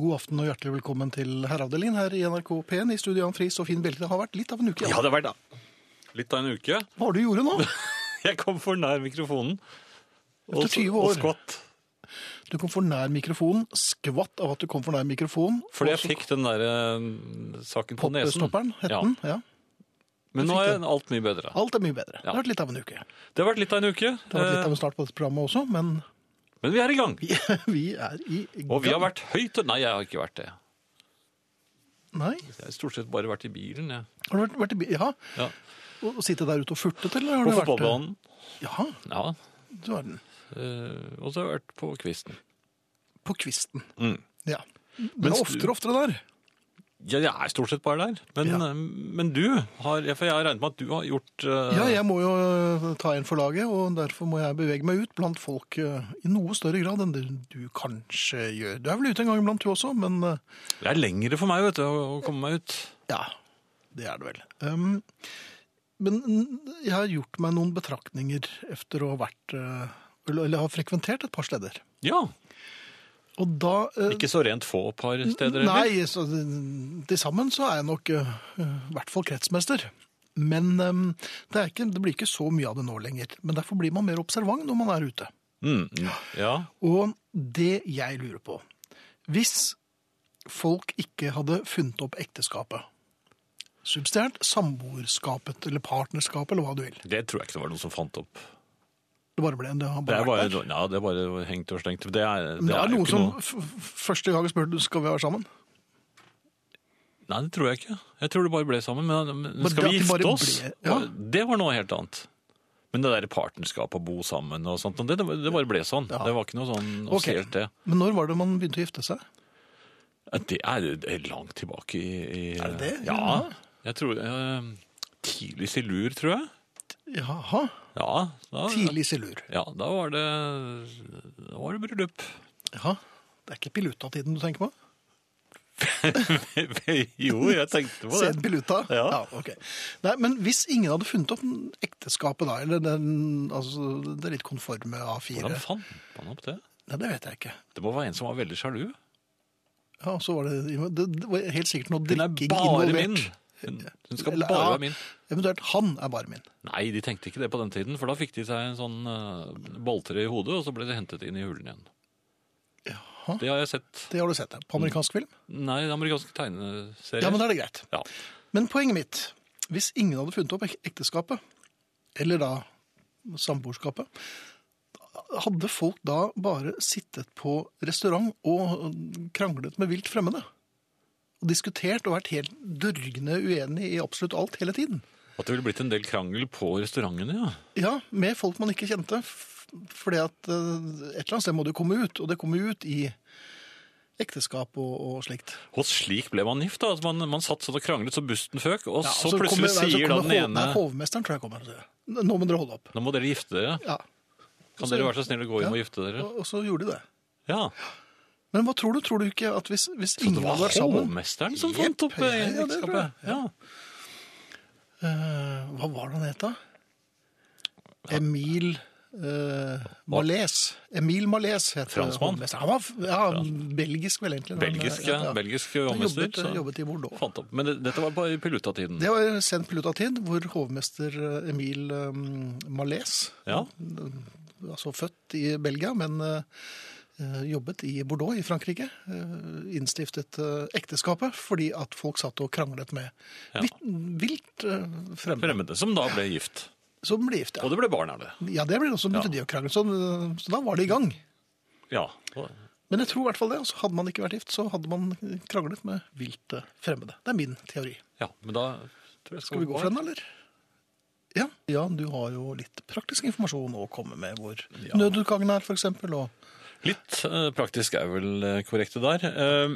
God aften og hjertelig velkommen til Herreavdelingen her i NRK P1 i studio Jan Friis og Finn Bjelke. Det har vært litt av en uke. Ja, Jan. det har vært da. litt av en uke. Hva var det du gjorde nå? Jeg kom for nær mikrofonen. Og, Etter 20 og år. skvatt. Du kom for nær mikrofonen. Skvatt av at du kom for nær mikrofonen. Fordi jeg Og så fikk den der eh, saken på nesen. poppestopperen, het Ja. den. Ja. Men Du nå fikk er alt mye bedre. Alt er mye bedre. Det Ja. har vært litt av en uke. Det Det har vært litt av en uke, har vært litt eh, av en start på dette programmet også, men men vi er i gang. vi, vi er i gang. Og vi har vært høyt og Nei, jeg har ikke vært det. Nei. Jeg har stort sett bare vært i bilen. jeg. Har du vært, vært i bi- Ja. Ja. Og og sittet der ute og furtet, eller har På du vært eh, fotballbanen. Ja, Ja. du er den. eh, Og så har jeg vært på kvisten. På kvisten. Mm. Ja. Men Mens du- oftere og oftere der. Ja, jeg er stort sett bare der. Men, Ja. eh, men du har For jeg har regnet med at du har gjort eh, Ja, jeg må jo eh, ta en for laget, og derfor må jeg bevege meg ut blant folk eh, i noe større grad enn det du kanskje gjør. Du er vel ute en gang iblant du også, men eh, Det er lengre for meg vet du, å å komme meg ut. ja, det er det vel. Um, men mm, jeg har gjort meg noen betraktninger efter å ha vært, eh, eller eller har frekventert et par steder. Ja. Og da... eh, Ikke så rent få par steder heller. Mm, Nei, så, til sammen så er jeg nok eh, i hvert fall kretsmester. Men eh, det, er ikke, det blir ikke så mye av det nå lenger. Men derfor blir man mer observant når man er ute. Mm, mm, ja. Og det jeg lurer på Hvis folk ikke hadde funnet opp ekteskapet, substjert samboerskapet eller partnerskapet eller hva du vil Det tror jeg ikke det var noen som fant opp. Det bare ble det har Det bare er vært bare, der. ja, det er bare hengt og slengt. Det er, Men det er jo noen ikke som noe f f- første gang spurte skal vi være sammen. Nei, det tror jeg ikke. Jeg tror det bare ble sammen. Men, men Men skal det vi at de gifte bare oss? ble- ja. Det var noe helt annet. Men det der partnerskapet, å bo sammen og sånt, det, det bare ble sånn. Ja. Det var ikke noe sånn Ok. offisielt, det. Men når var det man begynte å gifte seg? Det er, det er langt tilbake i, i Er det det? Ja. Jeg tror eh, Tidlig silur, tror jeg. Jaha, Ja, da, tidlig silur. ja, da var det Da var det bryllup. Ja, det er ikke Piluta-tiden du tenker på? jo, jeg tenkte på Se det. Piluta? Ja. ok. Nei, men hvis ingen hadde funnet opp ekteskapet da, eller den, altså, det litt konforme A4 Hvordan fant man opp det? Nei, det vet jeg ikke. Det må være en som var veldig sjalu. Ja, og så var det, det, det var helt sikkert noe Hun er drikking bare involvert. min. Hun, hun skal Eller, bare ja, være min. Eventuelt han er bare min. Nei, de tenkte ikke det på den tiden, for da fikk de seg en sånn uh, balltre i hodet, og så ble det hentet inn i hulen igjen. Jaha. Det har jeg sett. Det har du sett ja. på amerikansk film. Nei, i amerikanske tegneserier. Ja, men da er det greit. Ja. Men poenget mitt, hvis ingen hadde funnet opp ek- ekteskapet, eller da samboerskapet, hadde folk da bare sittet på restaurant og kranglet med vilt fremmede? Og diskutert og vært helt dørgende uenig i absolutt alt hele tiden? At det ville blitt en del krangel på restaurantene, ja. Ja, med folk man ikke kjente. f- Fordi at eh, et eller annet sted må det komme ut, og det kommer jo ut i ekteskap og, og slikt. Og slik ble man gift, da. Altså, man, man satt sånn og kranglet så busten føk, og Ja, så, og plutselig kommer- nei, så sier da kommer den hov- ene Nei, hovmesteren tror jeg kommer. og sier, Nå må dere holde opp. Nå må dere gifte dere. Ja, Kan dere være så snill å gå Ja. hjem og gifte dere? Og, og så gjorde de det. Ja. Men hva tror du? Tror du ikke at hvis, hvis Så ingen det var hadde vært sammen hovmesteren som Jepp, fant opp ja, ja, det eh, tror jeg. ekteskapet? Ja. Eh, Hva var det han het, da? Emil uh, Malais. Emil Malais het Franskmann? hovmesteren. Han var f- ja, belgisk, vel egentlig. men, Belgisk, eh, ja. Belgisk Han hovmester. jobbet, Så jobbet i Bordeaux. fant opp. Men det, dette var bare i Piluta-tiden. Det var sent pilotatid, hvor hovmester eh, Emil um, Malais, Ja. altså født i Belgia, men eh, eh, jobbet i Bordeaux i Frankrike, eh, innstiftet eh, ekteskapet fordi at folk satt og kranglet med Ja. vilt, vilt eh, fremmede. Fremmede som da ble gift. Som ble gift, Og ja. det ble barn av det. Ja, det ble det også, begynte de å krangle, så, eh, så da var det i gang. Ja. Men jeg tror i hvert fall det, altså hadde man ikke vært gift, så hadde man kranglet med vilt eh, fremmede. Det er min teori. ja. Men da tror jeg Skal vi gå for den, eller? Ja. ja, du har jo litt praktisk informasjon å komme med, hvor nødutgangen er, for eksempel, og Litt eh, praktisk er vel eh, korrekt det der. Eh,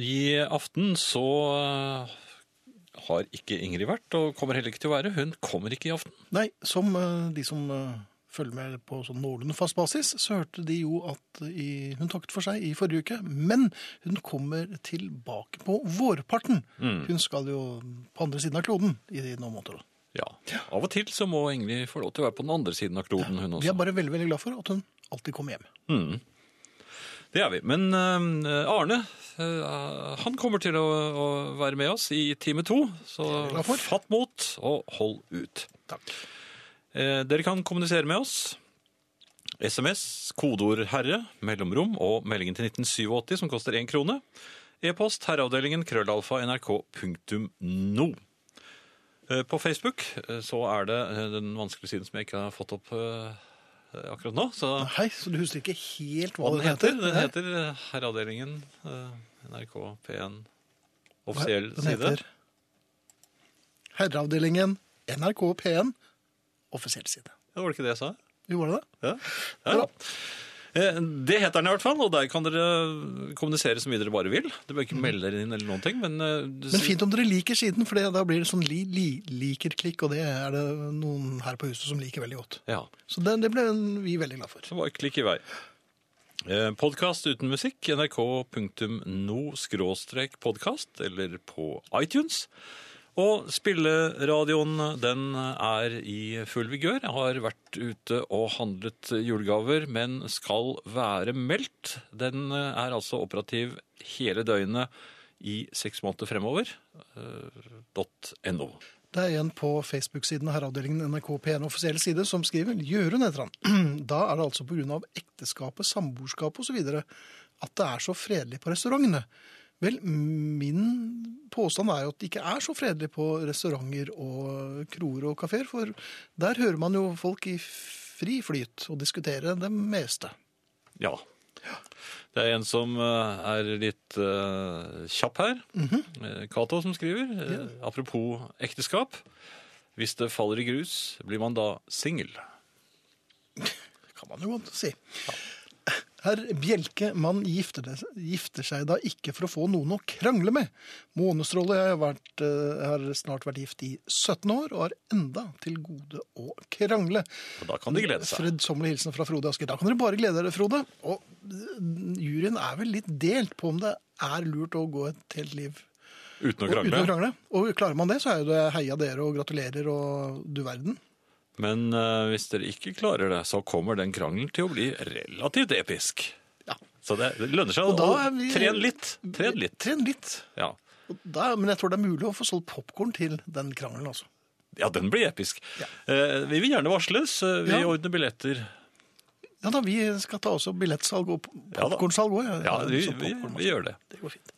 I aften så eh, har ikke Ingrid vært, og kommer heller ikke til å være. Hun kommer ikke i aften. Nei, som eh, de som eh, følger med på sånn noenlunde fast basis, så hørte de jo at eh, i, hun takket for seg i forrige uke, men hun kommer tilbake på vårparten. Hun skal jo på andre siden av kloden i noen måneder. Ja. Av og til så må Ingrid få lov til å være på den andre siden av kloden, hun Vi også. er bare veldig, veldig glad for at hun alltid kommer hjem. Mm. Det er vi. Men eh, Arne, eh, han kommer til å, å være med oss i time to. Så glad for. fatt mot og hold ut. Takk. Eh, dere kan kommunisere med oss. SMS, kodeord 'herre', mellomrom og meldingen til 1987 som koster én krone. E-post herreavdelingen krøllalfa nrk.no. Eh, På Facebook eh, så er det eh, den vanskelige siden som jeg ikke har fått opp eh, akkurat nå. Så Hei, så du husker ikke helt hva hva den heter? Den heter eh, Herreavdelingen, eh, NRK P1, offisiell den side. heter Herreavdelingen NRK P1, offisiell side. Ja, var det ikke det jeg sa? Jo, var det det? Ja. Ja. Ja. Eh, Det heter den i hvert fall, og der kan dere kommunisere så mye dere bare vil. Dere bør ikke melde dere inn eller noen ting, men, eh, du Mm. Men sier- fint om dere liker siden, for det, da blir det sånn li, li, liker-klikk, og det er det noen her på huset som liker veldig godt. Ja, Så det, det ble vi veldig glad for. så bare klikk i vei. Podkast uten musikk, nrk.no-podkast, eller på iTunes. Og spilleradioen, den er i full vigør. Jeg har vært ute og handlet julegaver, men skal være meldt. Den er altså operativ hele døgnet i seks måneder fremover. Eh, .no. Det er en på Facebook-siden Herreavdelingen NRK P1 offisiell side som skriver Jørund heter han. Da er det altså pga. ekteskapet, samboerskapet osv. at det er så fredelig på restaurantene. Vel, min påstand er jo at det ikke er så fredelig på restauranter og kroer og kafeer, for der hører man jo folk i fri flyt og diskutere det meste. Ja. Det er en som eh, er litt eh, kjapp her. Eh, Mhm. Cato som skriver. eh, Apropos ekteskap. Hvis det faller i grus, blir man da singel? kan man jo godt si. Herr Bjelke, man gifter, det, gifter seg da ikke for å få noen å krangle med. Månestråle jeg har, vært, eh, har snart vært gift i 17 år og har enda til gode å krangle. Og da kan de glede seg. Fred Sommerli hilsen fra Frode Asker. Da kan dere bare glede dere, Frode. Og eh, juryen er vel litt delt på om det er lurt å gå et helt liv og- Uten å uten å krangle. krangle. Og klarer man det, så er jo det heia dere og gratulerer og du verden. Men eh, hvis dere ikke klarer det, så kommer den krangelen til å bli relativt episk. Ja. Så det, det lønner seg Og å da er vi- tren litt. Tren litt. Tren litt. Ja. Og Da, men jeg tror det er mulig å få solgt popkorn til den krangelen altså. også. ja, den blir episk. Eh, vi vil gjerne varsles. Eh, Vi Ja. ordner billetter. Ja da, vi skal ta også billettsalg og Ja da. popkornsalg òg. Ja, vi, vi, vi gjør det. altså. Mhm. Det går fint.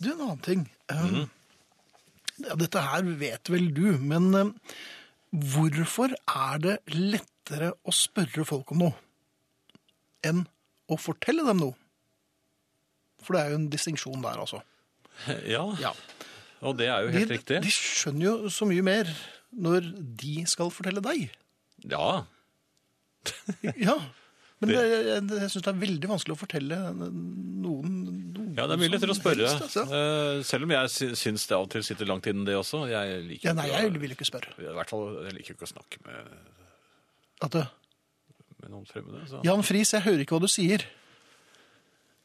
Du, en annen ting. Um, ja, dette her vet vel du, men um, hvorfor er det lettere å spørre folk om noe enn å fortelle dem noe? For det er jo en distinksjon der, altså. Ja, og det er jo helt de, riktig. de skjønner jo så mye mer når de skal fortelle deg. Ja, Ja, men det, jeg, jeg, jeg syns det er veldig vanskelig å fortelle noen, noen ja, det er mye lettere å spørre. helst, altså. Eh, Selv om jeg sy- syns det av og til sitter langt innen det også. Jeg liker Ja, nei, jeg ikke å- vil ikke spørre. I hvert fall, jeg liker ikke å snakke med, At det, med noen fremmede. Så. Jan Friis, jeg hører ikke hva du sier.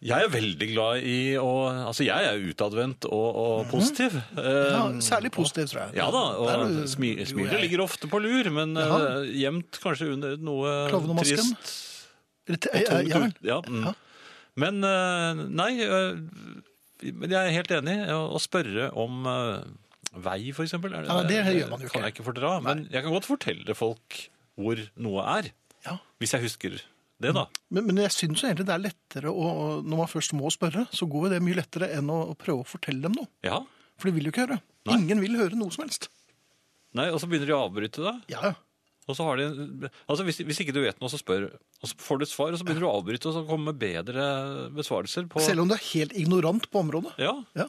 Jeg er veldig glad i å Altså, jeg er utadvendt og, og positiv. Eh, Mhm. Ja, særlig positiv, tror jeg. ja da, Der og er du- smi, jo, smilet jeg- ligger ofte på lur, men eh, Jaha. gjemt kanskje under noe Klovnemasken? trist. Eller te- Ja, ja, vel. Ja, mm. Ja. Men eh, nei, eh, men jeg er helt enig. Å spørre om eh, vei, for eksempel, er Ja, nei, det gjør man jo kan jeg ikke. ikke fordra. Men jeg kan godt fortelle folk hvor noe er, Ja. hvis jeg husker det, da. Men, men jeg syns jo egentlig det er lettere å Når man først må spørre, så går jo det mye lettere enn å, å prøve å fortelle dem noe. Ja. For de vil jo ikke høre. Nei. Ingen vil høre noe som helst. Nei, Og så begynner de å avbryte deg. Ja, ja. Og så har de, en- altså hvis, hvis ikke du vet noe, så spør, og så får du et svar, og så begynner du å avbryte og så komme med bedre besvarelser. på... Selv om du er helt ignorant på området. Ja, Ja.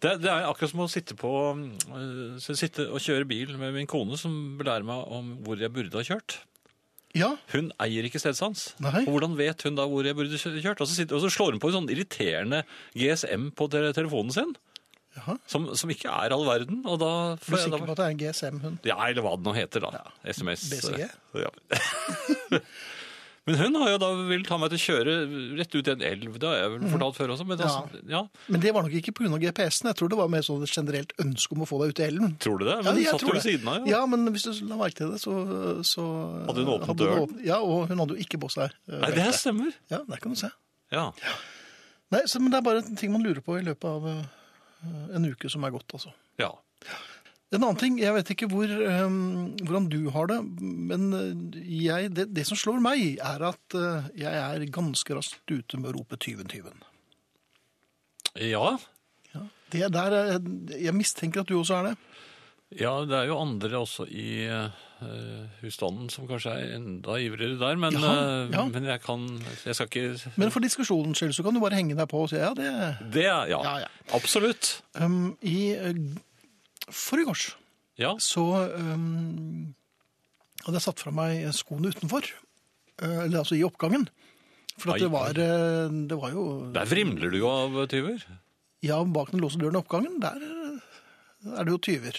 Det, det er akkurat som å sitte, på, øh, så sitte og kjøre bil med min kone, som belærer meg om hvor jeg burde ha kjørt. ja. Hun eier ikke stedsans. Nei. Og hvordan vet hun da hvor jeg burde kjø- kjørt? Og så, sitter, og så slår hun på en sånn irriterende GSM på tele telefonen sin, Jaha. som, som ikke er all verden. Og da Er du jeg, sikker på at det er en GSM-hund? Ja, eller hva det nå heter, da. SMS. BCG? Ja. øh, Men hun har jo da villet ha meg til å kjøre rett ut i en elv. Det har jeg vel fortalt før også. Men Mhm. Ja. altså, ja. Men det var nok ikke pga. GPS-en. Jeg tror det var mer sånn et generelt ønske om å få deg ut i elven. Tror du det? Men hun jeg satt tror jo ved det. siden av. Ja, men hvis du la merke til det, så, så Hadde hun åpnet hun døren? åpnet- ja, og hun hadde jo ikke på seg eh, Nei, det belte. stemmer. Ja, der kan du se. Ja. Nei, så, men det er bare en ting man lurer på i løpet av eh, en uke som er gått, altså. ja. En annen ting, jeg vet ikke hvor, eh, hvordan du har det, men eh, jeg, det, det som slår meg, er at eh, jeg er ganske raskt ute med å rope tyven, tyven. Ja. Det der, er- jeg mistenker at du også er det. Ja, det er jo andre også i eh, husstanden som kanskje er enda ivrigere der, men, Jaha, eh, ja. men jeg kan Jeg skal ikke Men for diskusjonens skyld så kan du bare henge deg på og si ja, det Det, er- ja. Ja, ja. Absolutt. um, I uh, forgårs Ja. så um, hadde jeg satt fra meg skoene utenfor. eh, Eller altså i oppgangen. For Ai, at det var, eh, det var jo Der vrimler du jo av tyver. Ja, bak den låste døren i oppgangen, der eh, er det jo tyver.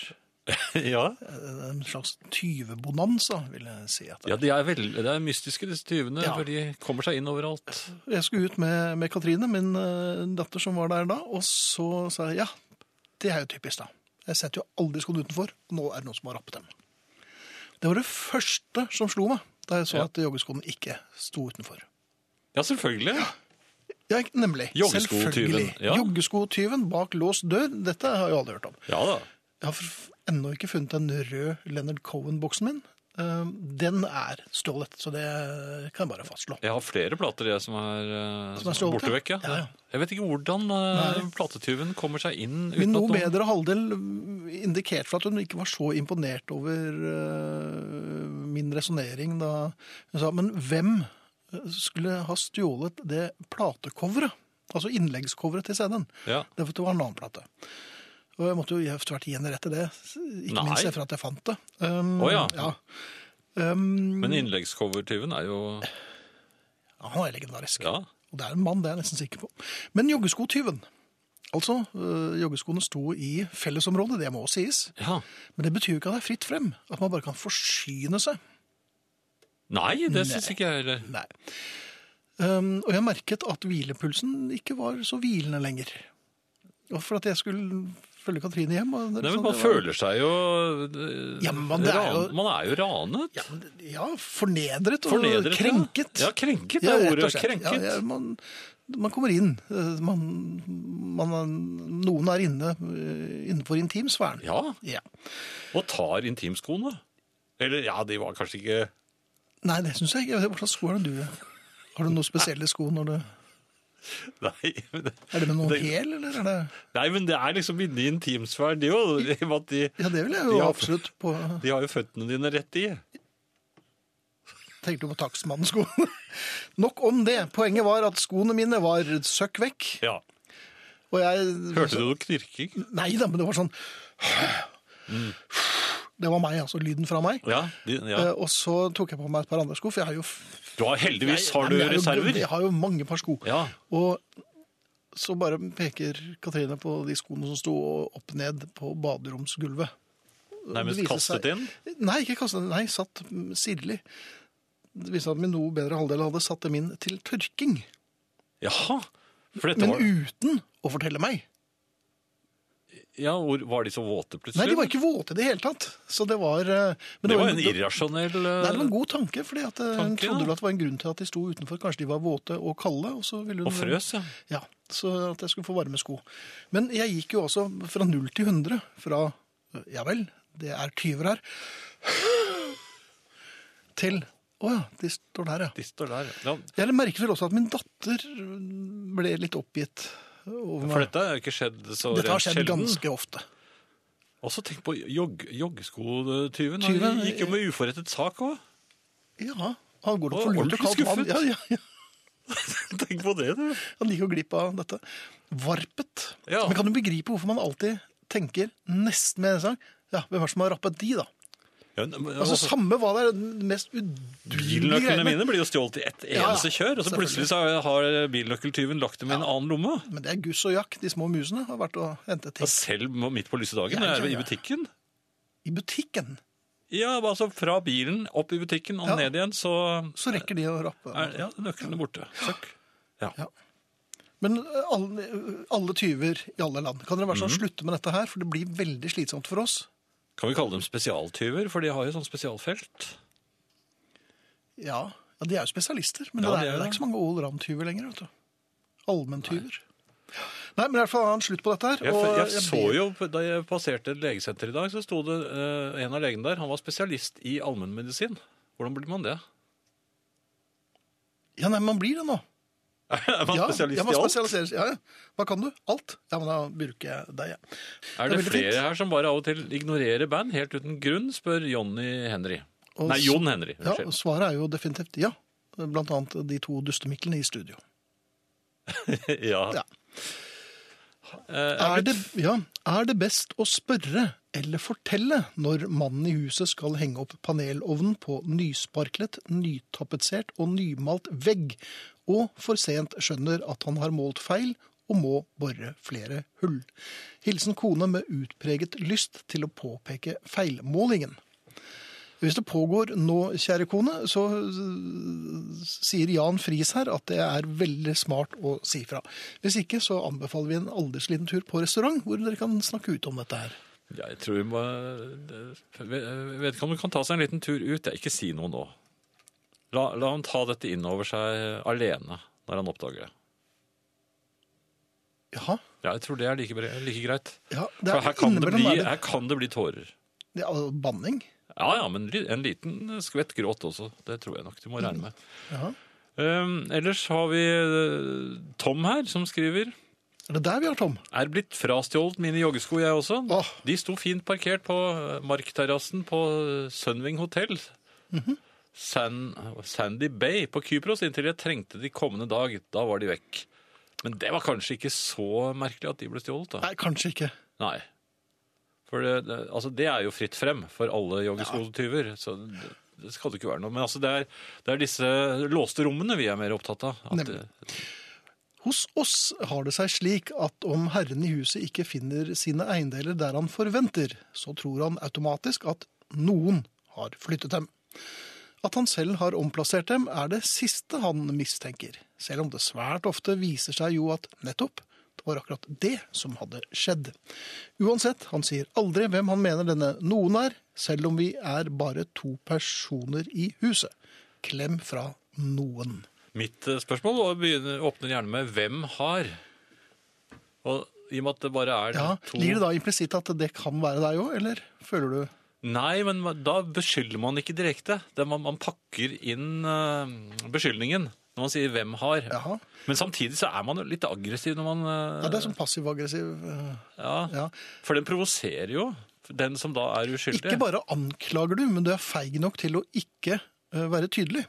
ja. Eh, En slags tyvebonanza, vil jeg si. At det er. ja, de er, veld- det er mystiske, disse tyvene, Ja. for de kommer seg inn overalt. Jeg skulle ut med, med Katrine, min eh, datter som var der da, og så sa jeg ja, det er jo typisk da. Jeg setter jo aldri skoene utenfor, og nå er det noen som har rappet dem. Det var det første som slo meg da jeg så Ja. at joggeskoene ikke sto utenfor. Ja, selvfølgelig. Ja, ikke- nemlig. Joggeskotyven, selvfølgelig. ja. Joggeskotyven bak låst dør, dette har jeg aldri hørt om. Ja da. Jeg har for- ennå ikke funnet den røde Leonard Cohen-boksen min. Eh, Den er stjålet, så det kan jeg bare fastslå. Jeg har flere plater jeg som er, eh, Som er som er borte stjålet, vekk. Ja. ja, ja. Jeg vet ikke hvordan eh, Nei. platetyven kommer seg inn Min uten noe at noen... bedre halvdel indikerte for at hun ikke var så imponert over øh, min resonnering da hun sa Men hvem øh, skulle ha stjålet det platecoveret? Altså innleggscoveret til CD-en. Ja. Det var- det var en annen plate. Og jeg måtte jo etter hvert gjenrette det. Ikke Nei. minst etter at jeg fant det. Um, Å ja. Um, Men innleggscovertyven er jo han er legendarisk. Ja. Og det er en mann, det er jeg nesten sikker på. Men joggeskotyven. Altså, øh, joggeskoene sto i fellesområdet, det må sies. ja. Men det betyr jo ikke at det er fritt frem. At man bare kan forsyne seg. Nei, det syns ikke jeg heller. Nei. Um, og jeg merket at hvilepulsen ikke var så hvilende lenger. Og for at jeg skulle følge Katrine hjem. Og Nei, men sånn, man det var- føler seg jo eh, Ja, men det er jo- ran- Man er jo ranet. Ja, men det- ja, fornedret og Fornedret. ja. krenket. Ja, krenket Ja, er rett og ordet. slett. Krenket. Ja, ja, man, man kommer inn. Eh, Man, man, er- noen er inne eh, innenfor intimsfæren. Ja, Ja. og tar intimskoene. Eller ja, de var kanskje ikke Nei, det syns jeg ikke. Hva slags sko har du? Har du noen spesielle sko når du Nei, men det, Er det med noen Det- hæl, eller er det nei, men det er liksom inne i intimsfæren, det jo. i og med at De, Ja, det vil jeg De jo har- absolutt på de har jo føttene dine rett i. Tenkte du på takstmannsko? Nok om det. Poenget var at skoene mine var søkk vekk, Ja. og jeg Hørte du noe knirking? Nei da, men det var sånn Det var meg, altså. Lyden fra meg. Ja, de, ja. Eh, Og så tok jeg på meg et par andre sko, for jeg har jo f- Du har heldigvis har Nei, du men jeg har jo- reserver. Jeg har jo mange par sko. Ja. Og så bare peker Katrine på de skoene som sto opp ned på baderomsgulvet. Nærmest Det viser kastet seg- inn. Nei, ikke kastet inn. Nei, satt mm, sirlig. Det viste seg at min noe bedre halvdel hadde satt dem inn til tørking. Jaha. For dette Men var, uten å fortelle meg. ja, hvor, var de så våte plutselig? Nei, de var ikke våte i det hele tatt. Så det var eh, men det var en det- Nei, irrasjonell det var en eh, god tanke, for hun trodde Tanke, ja. vel at det var en grunn til at de sto utenfor. Kanskje de var våte og kalde. Og, så ville hun, eh, Og frøs, ja. Ja, så at jeg skulle få varme sko. Men jeg gikk jo også fra 0 til 100. Fra ja vel, det er tyver her, til å ja, de står der, ja. De står der. Ja, Jeg merket vel også at min datter ble litt oppgitt over for meg. dette er jo ikke skjedd så Dette har rent skjedd sjelden. ganske ofte. Og så tenk på jogg, joggeskotyven. Han Tyven- gikk jo med uforrettet sak òg. Ja, han går det Og for lurt ordentlig og kaldt mann. skuffet. Ja, ja, ja. Tenk på det, du. Han gikk jo glipp av dette. Varpet. Ja. Men kan du begripe hvorfor man alltid tenker nesten med en sang? Ja, hvem er det som har rappet de, da? Ja, men- Altså, altså, samme hva det er, den mest udulige Bilnøklene greiene. mine blir jo stjålet i ett Ja, ja, eneste kjør, og så plutselig selvfølgelig. så har bilnøkkeltyven lagt dem i en annen lomme. Men det er Guss og Jack, de små musene, har vært og hentet Ja, ting selv må- midt på lyse dagen, Ja, når jeg ja, er ja. i butikken. i butikken. Ja, altså fra bilen, opp i butikken og Ja. ned igjen, så Så rekker de å rappe. er ja, nøklene borte. Søkk. Ja. Ja. Men eh, alle, alle tyver i alle land. Kan dere være så Mhm. snill å slutte med dette her, for det blir veldig slitsomt for oss. Kan vi kalle dem spesialtyver, for de har jo sånn spesialfelt. Ja, ja de er jo spesialister, men Ja, det, de er, det er det. er ikke så mange all-round-tyver lenger, vet du. Allmenntyver. Nei, men i hvert fall har han slutt på dette her. Jeg, og jeg så ber- jo, Da jeg passerte et legesenter i dag, så sto det eh, en av legene der. Han var spesialist i allmennmedisin. Hvordan blir man det? Ja, nei, men man blir det nå. Er man ja, spesialist ja, man i alt? spesialiserer seg. Ja, ja. Hva kan du? Alt? Ja, men da bruker jeg deg, jeg. Er det veldig flere fint. her som bare av og til ignorerer band helt uten grunn, spør Johnny Henry. Og Nei, s- Jon Henry. Ja, Unnskyld. svaret er jo definitivt ja. Blant annet de to dustemiklene i studio. Ja. Ja. Eh, jeg Er ble- det, ja, er det best å spørre eller fortelle når mannen i huset skal henge opp panelovnen på nysparklet, nytapetsert og nymalt vegg, og for sent skjønner at han har målt feil og må bore flere hull? Hilsen kone med utpreget lyst til å påpeke feilmålingen. Hvis det pågår nå, kjære kone, så øh, sier Jan Friis her at det er veldig smart å si fra. Hvis ikke, så anbefaler vi en aldersliten tur på restaurant, hvor dere kan snakke ut om dette her. Ja, Jeg tror vi må Vedkommende kan ta seg en liten tur ut. Jeg, ikke si noe nå. La, la ham ta dette inn over seg alene når han oppdager det. Jaha. Ja, jeg tror det er like, bre- like greit. Ja, det For er her kan det, innimellom bli, eh, er det- her kan det bli tårer. det er altså banning. Ja, ja, men li- en liten skvett gråt også. Det tror jeg nok du må regne med. Ja. Um, ellers har vi eh, Tom her, som skriver Er det der vi har Tom? Er blitt frastjålet mine joggesko, jeg også. Åh. De sto fint parkert på eh, markterrassen på eh, Sunwing Hotel. Mhm. San, Sandy Bay på Kypros inntil jeg trengte de kommende dag. Da var de vekk. Men det var kanskje ikke så merkelig at de ble stjålet, da. Nei, kanskje ikke. Nei. For det, det, altså det er jo fritt frem for alle joggeskotyver. Så det, det skal det ikke være noe. Men altså det, er, det er disse låste rommene vi er mer opptatt av. At, eh, Nemlig. Hos oss har det seg slik at om herren i huset ikke finner sine eiendeler der han forventer, så tror han automatisk at noen har flyttet dem. At han selv har omplassert dem, er det siste han mistenker, selv om det svært ofte viser seg jo at nettopp det var akkurat det som hadde skjedd. Uansett, han sier aldri hvem han mener denne noen er, selv om vi er bare to personer i huset. Klem fra noen. Mitt eh, spørsmål og begynner, åpner gjerne med 'Hvem har?' Og i og med at det bare er Ja, to Ligger det da implisitt at det kan være deg òg, eller føler du Nei, men da beskylder man ikke direkte. Det er man, man pakker inn eh, beskyldningen når man sier 'hvem har'. Jaha. Men samtidig så er man jo litt aggressiv når man eh, Ja, det er sånn passiv-aggressiv eh, ja. ja. For den provoserer jo den som da er uskyldig. Ikke bare anklager du, men du er feig nok til å ikke eh, være tydelig.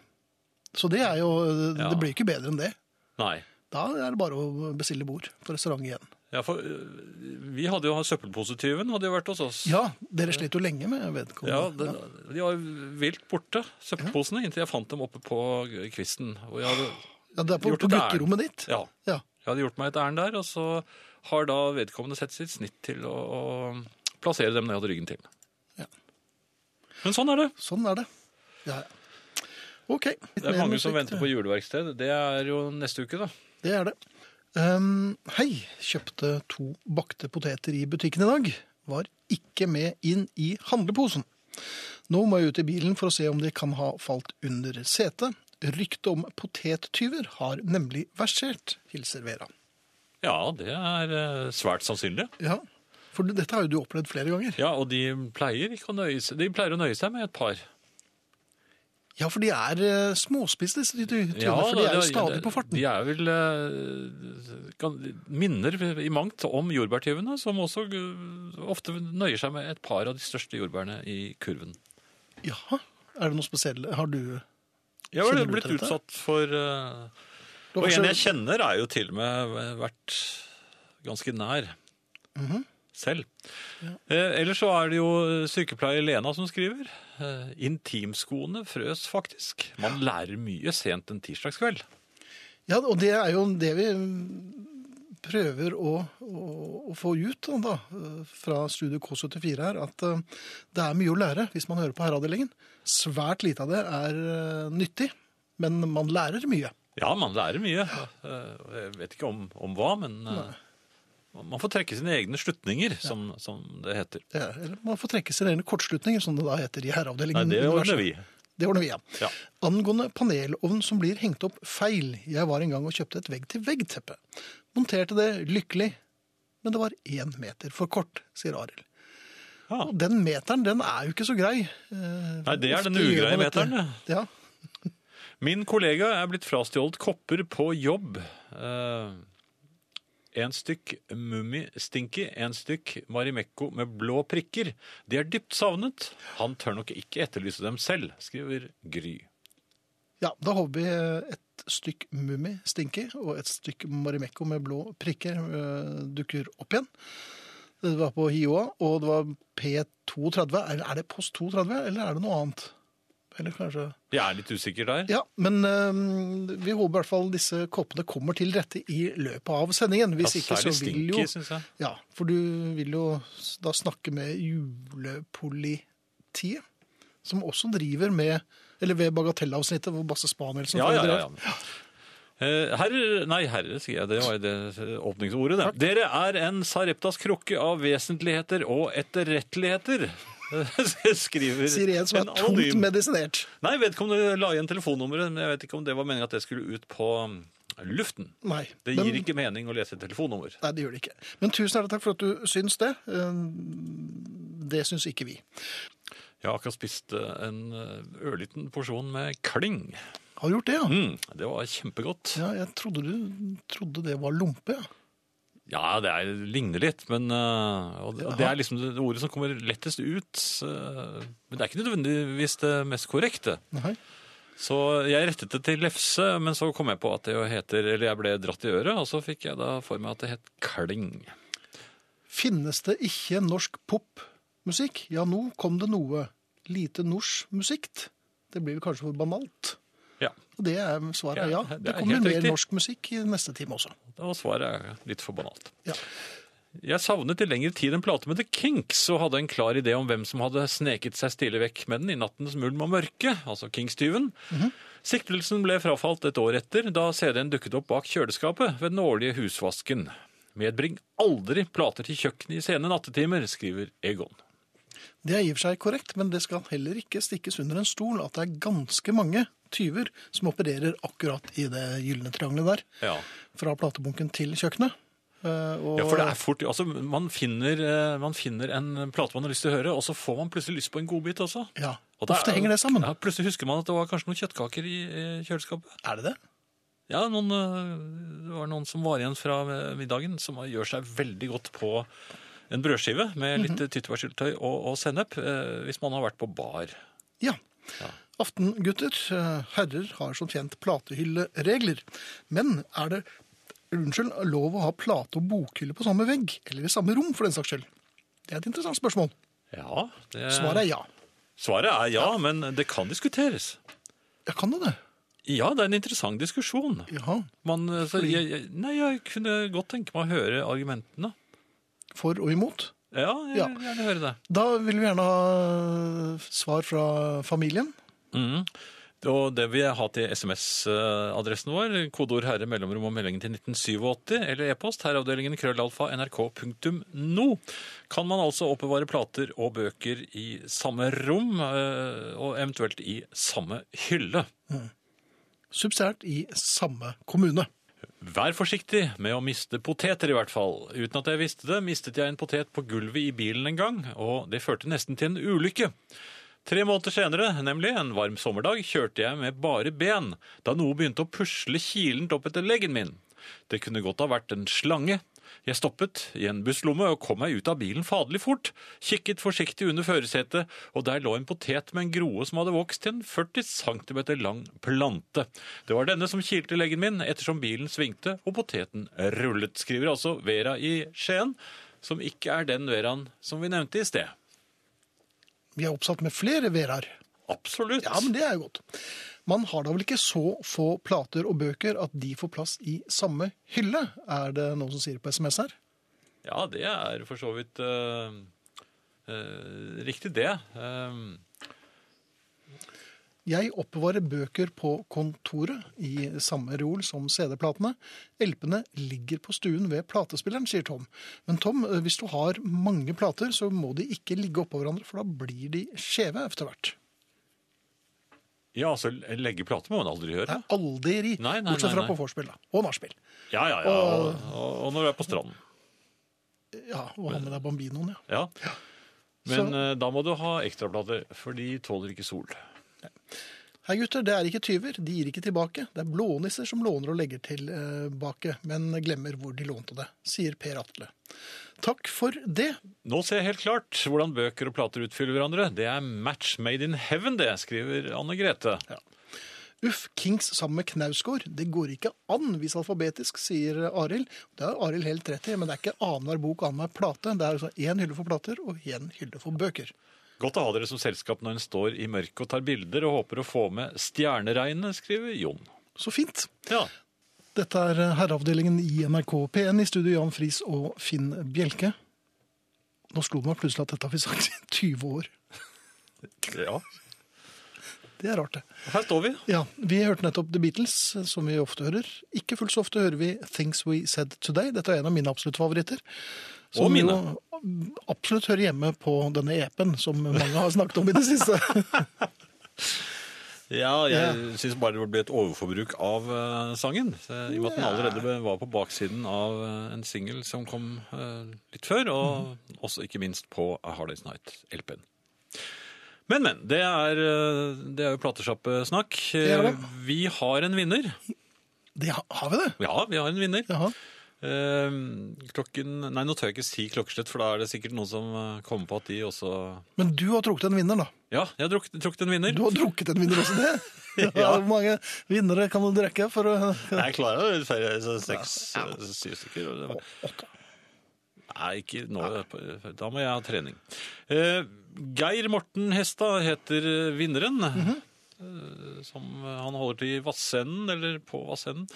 Så det er jo eh, Ja. Det blir ikke bedre enn det. Nei. Da er det bare å bestille bord på restaurant igjen. Ja, for øh, vi hadde jo søppelposityven hadde jo vært hos oss. Ja, dere slet jo lenge med Ja, vedkommende. det, de var vilt borte, søppelposene, inntil jeg fant dem oppe på kvisten. Og jeg hadde, Ja, det er på, gjort på det der. gutterommet ditt. ja, Ja. jeg hadde gjort meg et ærend der, og så har da vedkommende sett sitt snitt til å, å plassere dem når jeg hadde ryggen til. Ja. Men sånn er det. Sånn er det. Ja, ja. OK. Det er mange som venter på juleverksted. Det er jo neste uke, da. Det er det. Ehm, hei, kjøpte to bakte poteter i butikken i dag. Var ikke med inn i handleposen. Nå må jeg ut i bilen for å se om de kan ha falt under setet. Ryktet om potettyver har nemlig versert, hilser Vera. Ja, det er øh, svært sannsynlig. Ja, for dette har jo du opplevd flere ganger. Ja, og de pleier, ikke å nøye, seg- de pleier å nøye seg med et par. Ja, for de er eh, småspiste, disse ty- tyvene. for de da, er jo det- stadig på farten. De er vel eh, kan- minner i mangt om jordbærtyvene, som også eh, ofte nøyer seg med et par av de største jordbærene i kurven. Jaha, er det noe spesielt? Har du Jeg har Kjenner du blitt til dette? utsatt for eh, Du har Og en kanskje- jeg kjenner, er jo til og med vært ganske nær. Selv. Eh, ellers så er det jo eh, sykepleier Lena som skriver. Eh, intimskoene frøs faktisk. Man lærer mye sent en tirsdagskveld. Ja, og det er jo det vi prøver å, å, å få ut da, fra Studio K74 her, at eh, det er mye å lære hvis man hører på herreavdelingen. Svært lite av det er eh, nyttig, men man lærer mye. Ja, man lærer mye. Eh, Jeg vet ikke om, om hva, men eh, man får trekke sine egne slutninger, som, som det heter. Det er, eller man får trekke sine egne kortslutninger, som det da heter i Nei, herreavdelingen. det Universet. ordner vi. Det ordner vi igjen. Ja. Angående panelovn som blir hengt opp feil. Jeg var en gang og kjøpte et vegg-til-vegg-teppe. Monterte det lykkelig, men det var én meter for kort, sier Arild. Ja. Og den meteren, den er jo ikke så grei. Eh, Nei, det er den ugreie meteren, Ja. Min kollega er blitt frastjålet kopper på jobb. Eh, en stykk Mummi Stinky, en stykk Marimekko med blå prikker. De er dypt savnet. Han tør nok ikke etterlyse dem selv, skriver Gry. ja, da håper vi eh, et stykk Mummi Stinky og et stykk Marimekko med blå prikker eh, dukker opp igjen. Det var på Hioa, og det var P32. Eller er det Post 32, eller er det noe annet? Eller kanskje... Jeg er litt usikker der. Ja, men eh, vi håper i hvert fall disse koppene kommer til rette i løpet av sendingen. Hvis ikke så vil jo Stinky, synes jeg. Ja, for du vil jo s- da snakke med julepolitiet, som også driver med Eller ved bagatellavsnittet hvor Basse Spanielsen Ja, ja, foredrag. ja. ja. Eh, Herrer, nei, herrer, sier jeg. Det var jo det åpningsordet, det. Dere er en Sareptas krukke av vesentligheter og etterretteligheter, skriver Sier en som er tungt anonym. medisinert. Nei, jeg vet ikke om du la igjen telefonnummeret, men jeg vet ikke om det var meningen at det skulle ut på um, luften. Nei. Det men- gir ikke mening å lese et telefonnummer. Nei, det gjør det ikke. Men tusen hjertelig takk for at du syns det. Eh, Det syns ikke vi. Jeg har akkurat spist eh, en eh, ørliten porsjon med kling. Har du gjort det, ja? Mm, det var kjempegodt. Ja, jeg trodde du trodde det var lompe. ja. Ja, det er, ligner litt, men eh, og det, og det er liksom det ordet som kommer lettest ut. eh, men det er ikke nødvendigvis det mest korrekte. Nei. Så jeg rettet det til lefse, men så kom jeg på at det jo heter, eller jeg ble dratt i øret, og så fikk jeg da for meg at det het kling. Finnes det ikke norsk popmusikk? Ja, nå kom det noe. Lite norsk musikt. Det blir vel kanskje for banalt. Ja, Og det er svaret ja. Ja, det er Det kommer helt mer riktig. norsk musikk i neste time også. Og svaret er litt for banalt. Ja. Jeg savnet i lengre tid en plate med The Kinks, og hadde en klar idé om hvem som hadde sneket seg stille vekk med den i nattens mulm og mørke, altså Kings-tyven. Siktelsen ble frafalt et år etter, da CD-en dukket opp bak kjøleskapet ved den årlige husvasken. Medbring aldri plater til kjøkkenet i sene nattetimer, skriver Egon. Det er i og for seg korrekt, men det skal heller ikke stikkes under en stol at det er ganske mange tyver som opererer akkurat i det gylne triangelet der. Ja, Fra platebunken til kjøkkenet. Eh, og- ja for det er fort Altså, man finner, eh, man finner en plate man har lyst til å høre, og så får man plutselig lyst på en godbit også. Ja. Og da- Ofte henger det sammen. Ja, plutselig husker man at det var kanskje noen kjøttkaker i eh, kjøleskapet. Er det det? Ja, noen, eh, det var noen som var igjen fra eh, middagen, som gjør seg veldig godt på en brødskive med litt Mhm. eh, tyttebærsyltetøy og, og sennep, eh, hvis man har vært på bar. Ja. Aften, gutter. Eh, Herrer har som kjent platehylleregler. Men er det unnskyld, lov å ha plate- og bokhylle på samme vegg? Eller i samme rom, for den saks skyld? Det er et interessant spørsmål. Ja, det, Svaret er ja. svaret er ja, men det kan diskuteres. Ja, kan det det? Ja, det er en interessant diskusjon. Ja. Man, eh, så jeg, jeg, nei, jeg kunne godt tenke meg å høre argumentene. For og imot? Ja, jeg Ja. vil gjerne høre det. Da vil vi gjerne ha svar fra familien. Mhm. Og det vil jeg ha til SMS-adressen vår. Kodeord herre mellomrom og meldingen til 1987 eller e-post herreavdelingen krøllalfa nrk.no. Kan man altså oppbevare plater og bøker i samme rom, eh, og eventuelt i samme hylle? Subsidiært i samme kommune. Vær forsiktig med å miste poteter, i hvert fall. Uten at jeg visste det, mistet jeg en potet på gulvet i bilen en gang, og det førte nesten til en ulykke. Tre måneder senere, nemlig en varm sommerdag, kjørte jeg med bare ben, da noe begynte å pusle kilent opp etter leggen min. Det kunne godt ha vært en slange. Jeg stoppet i en busslomme og kom meg ut av bilen faderlig fort, kikket forsiktig under førersetet, og der lå en potet med en groe som hadde vokst til en 40 cm lang plante. Det var denne som kilte leggen min ettersom bilen svingte og poteten rullet, skriver altså Vera i Skien, som ikke er den Veraen som vi nevnte i sted. Vi er oppsatt med flere veraer. Absolutt. Ja, men det er jo godt. Man har da vel ikke så få plater og bøker at de får plass i samme hylle, er det noen som sier på SMS her. Ja, det er for så vidt eh, eh, riktig, det. Eh, Jeg oppbevarer bøker på kontoret i samme reol som CD-platene. LP-ene ligger på stuen ved platespilleren, sier Tom. Men Tom, hvis du har mange plater, så må de ikke ligge oppå hverandre, for da blir de skjeve etter hvert. Ja, altså legge plate må man aldri gjøre. Nei, aldri. Nei, nei, bortsett nei, fra nei. på vorspiel da. og nachspiel. Ja, ja, ja. Og, og, og når du er på stranden. Ja, og ha med deg Bambinoen, ja. Ja. Men eh, da må du ha ekstraplater, for de tåler ikke sol. Hei gutter, det er ikke tyver, de gir ikke tilbake. Det er blånisser som låner og legger tilbake, men glemmer hvor de lånte det, sier Per Atle. Takk for det. Nå ser jeg helt klart hvordan bøker og plater utfyller hverandre. Det er match made in heaven, det, skriver Anne Grete. Uff, Kings sammen med Knausgård. Det går ikke an hvis alfabetisk, sier Arild. Det har Arild helt rett i, men det er ikke annenhver bok, annenhver plate. Det er altså én hylle for plater og én hylle for bøker. Godt å ha dere som selskap når en står i mørket og tar bilder og håper å få med stjerneregnet, skriver Jon. Så fint. Ja, Dette er herreavdelingen i NRK P1 i studio Jan Friis og Finn Bjelke. Nå slo det meg plutselig at dette har vi sagt i 20 år. ja. Det er rart, det. Her står vi. Ja, Vi hørte nettopp The Beatles, som vi ofte hører. Ikke fullt så ofte hører vi Things We Said Today. Dette er en av mine absolutt favoritter. Som Og mine. jo absolutt hører hjemme på denne EP-en som mange har snakket om i det siste. Ja, jeg syns bare det ble et overforbruk av eh, sangen. eh, I og med at den allerede var på baksiden av eh, en singel som kom eh, litt før, og Mm. også ikke minst på A Hard Day's Night-LP-en. Men, men. Det er, eh, det er jo platesjappesnakk. er det. Eh, Vi har en vinner. Det ha- har vi det? Ja, vi har en vinner. Jaha. Eh, klokken Nei, nå tør jeg ikke si klokkeslett, for da er det sikkert noen som eh, kommer på at de også Men du har trukket en vinner, da. Ja, jeg har drukket, trukket en vinner. Du har drukket en vinner også, det? Ja. Hvor mange vinnere kan du drikke for å Nei, Jeg klarer det. Færre, så seks, eh, syv stykker. og det var- Åtte. Nei, ikke nå. Da må jeg ha trening. Eh, Geir Morten Hestad heter vinneren. Mhm. eh, som han holder til i Vassenden, eller på Vassenden.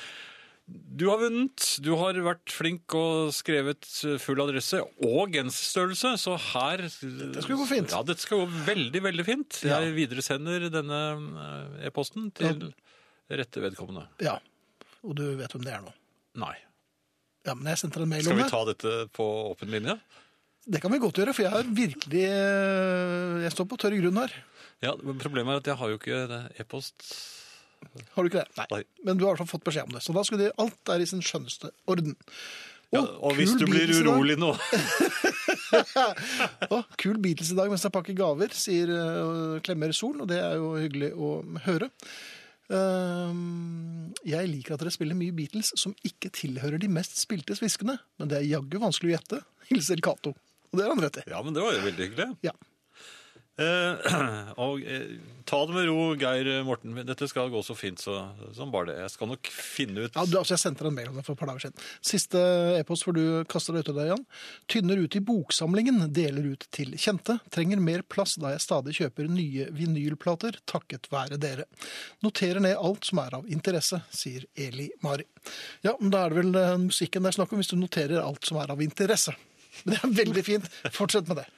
Du har vunnet. Du har vært flink og skrevet full adresse og genserstørrelse, så her Dette skal gå fint. Ja, dette skal gå veldig, veldig fint. Ja. Jeg videresender denne eh, e-posten til rette vedkommende. Ja. Og du vet hvem det er nå. Nei. Ja, men jeg sendte deg en mail Skal om vi det. ta dette på åpen linje? Det kan vi godt gjøre, for jeg har virkelig eh, Jeg står på tørr grunn her. Ja, men Problemet er at jeg har jo ikke e-post. Har du ikke det? Nei. Men du har i hvert fall fått beskjed om det. Så da skulle de, alt er i sin skjønneste orden. Ja, og hvis kul du blir Beatles i dag. urolig nå Å, kul Beatles i dag mens jeg pakker gaver, sier øh, Klemmer Sol, og det er jo hyggelig å høre. Ehm, jeg liker at dere spiller mye Beatles som ikke tilhører de mest spilte sviskene, men det er jaggu vanskelig å gjette, hilser Cato. Og det har han rett i. Ja, men det var jo veldig hyggelig. Ja. Eh, og eh, ta det med ro, Geir Morten. Dette skal gå så fint så, som bare det. Jeg skal nok finne ut Ja, du, altså Jeg sendte deg en mail om det for et par dager siden. Siste e-post hvor du kaster deg ut av deg, Jan. Tynner ut i boksamlingen, deler ut til kjente. Trenger mer plass da jeg stadig kjøper nye vinylplater, takket være dere. Noterer ned alt som er av interesse, sier Eli Mari. Ja, men da er det vel eh, musikken det er snakk om, hvis du noterer alt som er av interesse. Men det er veldig fint. Fortsett med det.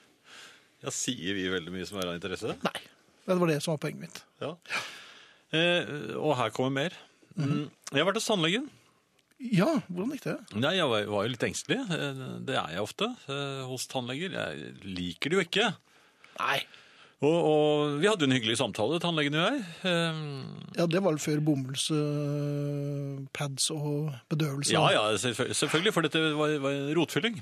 Ja, sier vi veldig mye som er av interesse? Nei. Det var det som var poenget mitt. Ja. Eh, og her kommer mer. Mhm. Mm. Jeg har vært hos tannlegen. Ja, hvordan gikk det? Nei, jeg var, var jo litt engstelig. Eh, Det er jeg ofte eh, hos tannleger. Jeg liker det jo ikke. Nei. Og, og vi hadde jo en hyggelig samtale, tannlegen og jeg. Eh, Ja, det var vel før bomullspads og bedøvelse. ja, ja, selvfø- selvfølgelig, for dette var, var rotfylling.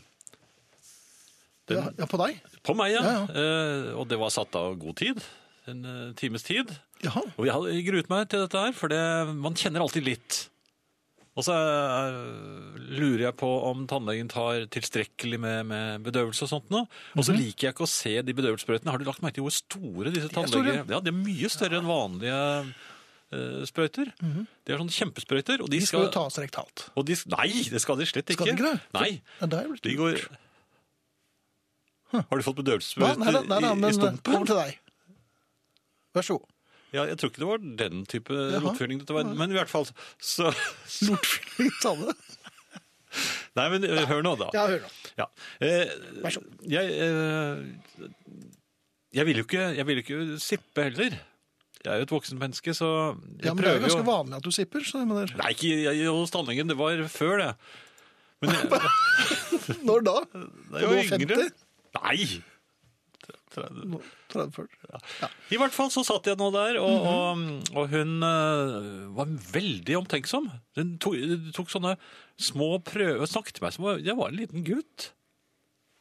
Ja, ja, på deg? På meg, ja. Ja, Eh, og det var satt av god tid. En eh, times tid. Jaha. Og jeg hadde gruet meg til dette her, for det, man kjenner alltid litt. Og så eh, lurer jeg på om tannlegen tar tilstrekkelig med, med bedøvelse og sånt nå. Og så liker jeg ikke å se de bedøvelsessprøytene. Har du lagt merke til hvor store disse er store. tannleger Ja, de er mye større enn vanlige eh, sprøyter. De er sånne kjempesprøyter. Og De de, skal skal, jo tas rektalt. og de, Nei, det skal de slett ikke. Skal de ikke det? Nei. Ja, det er blitt De går Har du Hva? Hm. fått Nei, bedøvelsessprøyter nei, nei, nei, i, i men eh, stumpen? over til deg. Vær så god. Ja, jeg tror ikke det var den type rotfylling dette var. Men i hvert fall så Lortfylling, sa du? Nei, men eh, hør nå, da. Ja, hør nå. Ja. Eh, Vær så god. jeg eh, jeg vil jo ikke, jeg vil jo ikke sippe heller. Jeg er jo et voksen menneske, så jeg Ja, men det er jo prøver jo ganske vanlig at du sipper. Så jeg mener, Nei, ikke jeg- hos tannlegen. Det var før, det. Men jeg, når da? da jeg du var var yngre 50? Nei! 30. Nå- 30-40. I hvert fall så satt jeg nå der, og, Mhm. og, og hun eh, var veldig omtenksom. Hun tok, hun tok sånne små prøver, hun snakket til meg som om jeg var en liten gutt.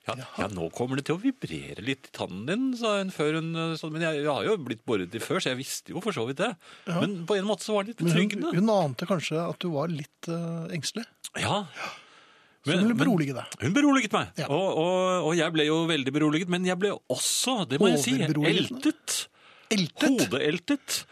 Ja, ja, nå kommer det til å vibrere litt i tannen din, sa hun før hun eh, sånn. Men jeg, jeg har jo blitt boret i før, så jeg visste jo for så vidt det. Men på en måte så var det litt Men betryggende. hun, hun ante kanskje at du var litt eh, engstelig, Ja. så hun ville berolige deg. Hun beroliget meg, Ja. og, og, og jeg ble jo veldig beroliget, men jeg ble også, det må jeg si, Overberoligende? eltet. Eltet! Hodeeltet.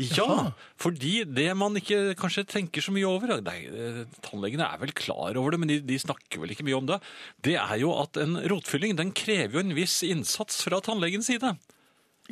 Ja, Jaha. fordi det man ikke kanskje tenker så mye over, nei, eh, tannlegene er vel klar over det, men de, de snakker vel ikke mye om det, det er jo at en rotfylling, den krever jo en viss innsats fra tannlegens side.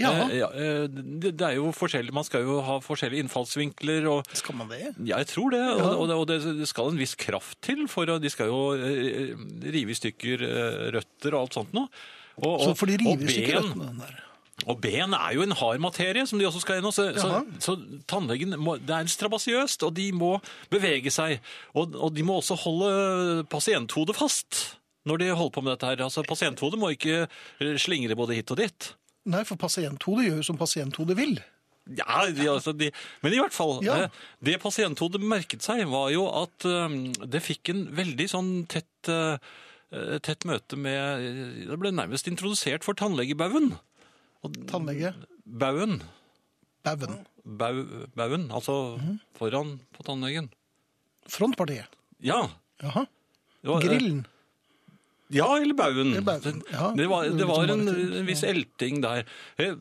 Ja, Eh, ja, eh, det, det er jo forskjellig, man skal jo ha forskjellige innfallsvinkler, og skal man det? ja, jeg tror det, og, og, det, og det- det skal en viss kraft til, for å- de skal jo eh, rive i stykker eh, røtter og alt sånt noe. Og, og, Så for de og river ikke ben, røttene den der. og ben er jo en hard materie som de også skal gjennom, så, så, Jaha. så tannlegen må, det er strabasiøst, og de må bevege seg, og, og de må også holde pasienthodet fast når de holder på med dette her. Altså, pasienthodet må ikke eh, slingre både hit og dit. Nei, for pasienthodet gjør jo som pasienthodet vil. Ja, de, altså, de, men i hvert fall, Ja. eh, det pasienthodet merket seg var jo at eh, det fikk en veldig sånn tett, eh, eh, tett møte med, eh, det ble nærmest introdusert for tannlegebauen. Tannlege Bauen, Bauven. bau, bauen, altså Mhm. foran på tannlegen. Frontpartiet. Ja, Jaha. det var, eh, Grillen. Ja, eller bauen. Eller bauen, ja. Det var, det var en, Liksom en viss elting der. Eh,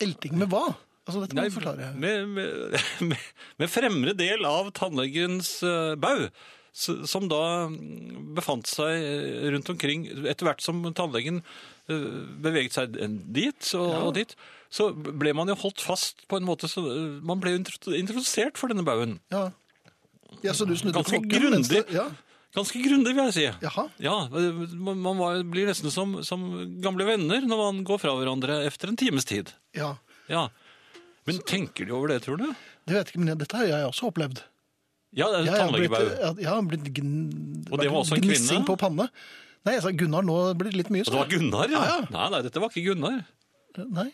Elting med hva? Altså, dette må Nei, du forklare. Med, med, med, med fremre del av tannlegens eh, bau, s- som da mm, befant seg eh, rundt omkring. Etter hvert som tannlegen eh, beveget seg en- dit og, og dit, så ble man jo holdt fast på en måte. Så eh, man ble jo intro- introdusert for denne bauen. Ja. ja, så du snudde Ganske klokken, mens grundig. det- Ja. Ganske grundig, vil jeg si. Jaha. Ja, eh, man man var, blir nesten som, som gamle venner når man går fra hverandre etter en times tid. ja. Ja. Men tenker de over det, tror du? Det vet jeg ikke, men dette har jeg også opplevd. Ja, det er Jeg har blitt, tannlegebau. jeg- jeg har blitt gn... Og det var også en gnissing kvinne? på panne. Nei, jeg sa Gunnar, nå blir det litt mye. Og det var større. Gunnar, ja. Ja, ja. Nei, nei, dette var ikke Gunnar. Nei.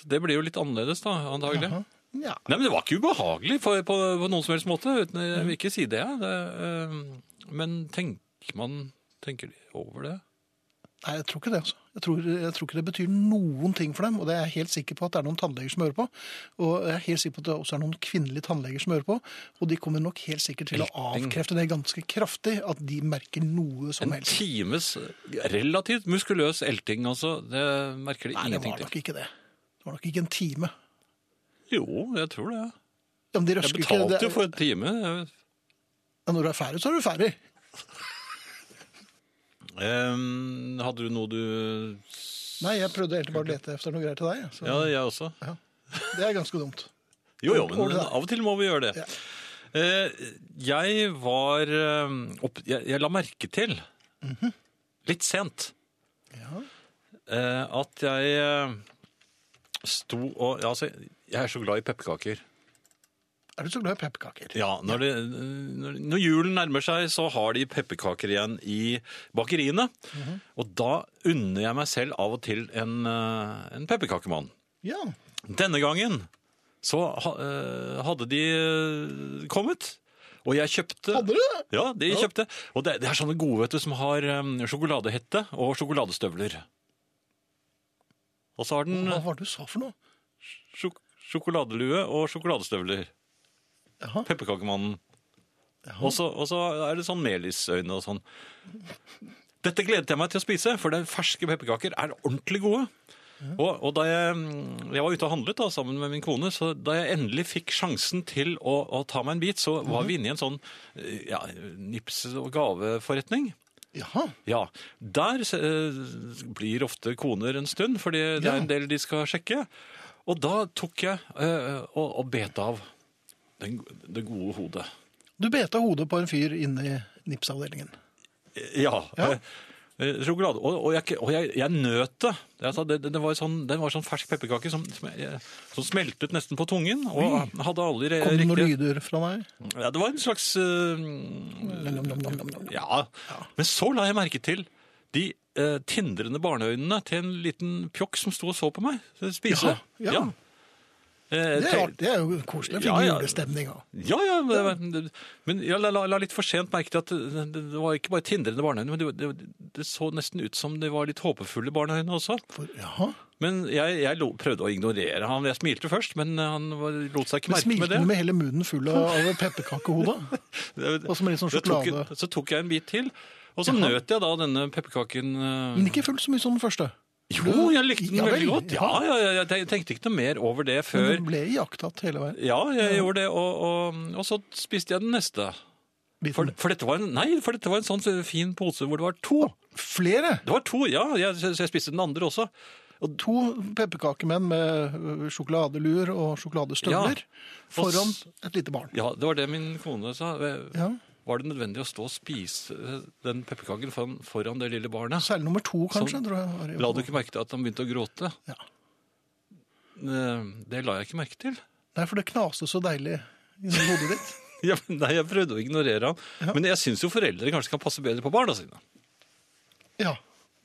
Så det blir jo litt annerledes, da, antagelig. Jaha. Ja. Nei, men det var ikke ubehagelig på, på, på noen som helst måte. Uten, jeg vil ikke si det. jeg. det eh, men tenker man Tenker de over det? Nei, jeg tror ikke det. altså. Jeg tror, jeg tror ikke det betyr noen ting for dem, og det er jeg helt sikker på at det er noen tannleger som hører på. Og jeg er helt sikker på at det også er noen kvinnelige tannleger som hører på, og de kommer nok helt sikkert til å Elting. avkrefte det ganske kraftig, at de merker noe som En helst. times relativt muskuløs elting, altså. Det merker de Nei, det ingenting var til. nok ikke det. Det var nok ikke en time. Jo, jeg tror det. Ja, men de Jeg røsker ikke. betalte Det er- jo for en time. jeg- Ja, Når du er ferdig, så er du ferdig. Ehm, hadde du noe du Nei, jeg prøvde egentlig bare å lete etter noe greier til deg. jeg. Så Ja, jeg også. det er ganske dumt. Jo, jo, Ordne men deg. av og til må vi gjøre det. Eh, Jeg var eh, opp, jeg, jeg la merke til, Mhm. litt sent, Ja. eh, at jeg eh, sto og ja, altså, Jeg er så glad i pepperkaker. Er du så glad i pepperkaker? Ja, når, det, når, når julen nærmer seg, så har de pepperkaker igjen i bakeriene. Og da unner jeg meg selv av og til en, eh, en pepperkakemann. Ja. Denne gangen så ha, eh, hadde de eh, kommet, og jeg kjøpte Hadde du det? Ja, de kjøpte. Og det, det er sånne gode vet du, som har um, sjokoladehette og sjokoladestøvler. Og så har den Hva eh, var det du sa for noe? sjok sjokoladelue og sjokoladestøvler. Jaha. Pepperkakemannen. Og så og så er det sånn melisøyne og sånn. Dette gledet jeg meg til å spise, for det ferske pepperkaker er ordentlig gode. Og, og da jeg, mm, jeg var ute og handlet da, sammen med min kone, så da jeg endelig fikk sjansen til å, å ta meg en bit, så var vi inne i en sånn eh, ja, nips- og gaveforretning. Jaha. Ja, der eh, blir ofte koner en stund, fordi det Ja. er en del de skal sjekke. Og da tok jeg eh, og, og bet av den, det gode hodet. Du beta hodet på en fyr inne i NIPS-avdelingen. Ja. eh, eh, Sjokolade. Og, og, jeg, og jeg, jeg nøt det. Jeg sa, det, det var sånn, den var sånn fersk pepperkake som, som, jeg- som smeltet nesten på tungen. Og hadde alle de Kom det noen riktige lyder fra deg? ja, Det var en slags eh, Nom, nom, nom, nom, nom. Ja. Men så la jeg merke til de eh, tindrende barneøynene til en liten pjokk som sto og så på meg spise. Jaha, ja. Eh, Det er, te- rart, det er jo koselig. Jeg fikk Ja, ja. julestemning av Ja, ja, men- men- men jeg la, la, la litt for sent merke til at det, det det var ikke bare tindrende barneøyne, men det, var- det, det så nesten ut som det var litt håpefulle barneøyne også. For, jaha. Men jeg, jeg lo, prøvde å ignorere ham. Jeg smilte først, men han var, lot seg ikke Men merke smilte med med, det. med hele munnen full av, av pepperkakehodet? Det- Og så med litt sånn det tok en- sjokolade. Så tok jeg en bit til, og så nøt jeg da denne pepperkaken. eh, Men ikke fullt så mye som den første. Jo, jeg likte den Ja vel, veldig godt. Mm. Ja, ja, ja, jeg ten- tenkte ikke noe mer over det Men før. den ble iakttatt hele veien. Ja, jeg gjorde det, og, og, og så spiste jeg den neste. For, Biten. for, dette var en, nei, for dette var en sånn fin pose hvor det var to. Flere! Det var to, ja. Jeg, så jeg spiste den andre også. To pepperkakemenn med ø, sjokoladeluer og sjokoladestøvler foran s- et lite barn. Ja, Det var det min kone sa. Eh, Ja. Var det nødvendig å stå og spise eh, den pepperkaken foran, foran det lille barnet? Særlig nummer to, kanskje. Sånn. tror jeg var i- La du ikke merke til at han begynte å gråte? Ja. Eh, Det la jeg ikke merke til. Nei, for det knaste så deilig inni hodet ditt. Ja, men nei, Jeg prøvde å ignorere ham. Men jeg syns jo foreldre kanskje kan passe bedre på barna sine. Ja.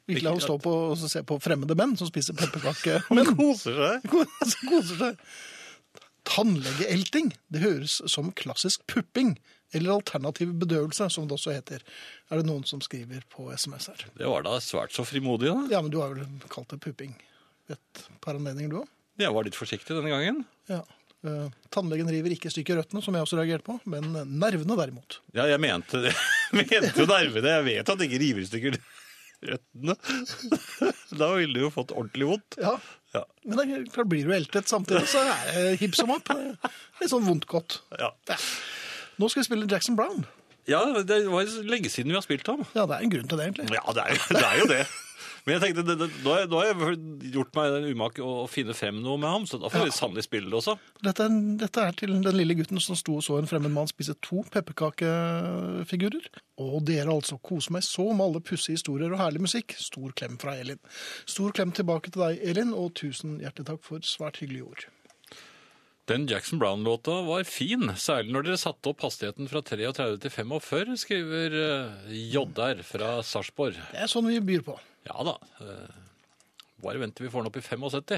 Ikke la henne stå på og se på fremmede menn som spiser pepperkake. Men koser seg. som koser seg. Tannlegeelting. Det høres som klassisk pupping. Eller alternativ bedøvelse, som det også heter. Er det noen som skriver på SMS her? Det var da svært så frimodig. da. Ja, men du har vel kalt det pupping ved et par anledninger, du òg? Jeg var litt forsiktig denne gangen. Ja. Eh, tannlegen river ikke i stykker røttene, som jeg også reagerte på, men nervene derimot. Ja, jeg mente det. mente jo nervene. Jeg vet at det ikke river i stykker røttene. Da ville du jo fått ordentlig vondt. Ja, Ja. Men da- da blir du eltet samtidig, så er det hipp som opp. Litt sånn vondt godt. Ja. Nå skal vi spille Jackson Brown. det var lenge siden vi har spilt ham. Ja, det er en grunn til det, egentlig. Ja, det er, jo- det er jo det. Men jeg tenkte, det, det, nå, har jeg, nå har jeg gjort meg den umake å, å finne frem noe med ham, så da får vi sannelig spille det også. Dette er, dette er til den lille gutten som sto og så en fremmed mann spise to pepperkakefigurer. Og dere altså, koser meg så med alle pussige historier og herlig musikk. Stor klem fra Elin. Stor klem tilbake til deg, Elin, og tusen hjertelig takk for svært hyggelige ord. Den Jackson Brown-låta var fin, særlig når dere satte opp hastigheten fra 33 til 45, skriver uh, Joddar fra Sarpsborg. Det er sånn vi byr på. Ja da, eh, bare vent til vi får den opp i 75.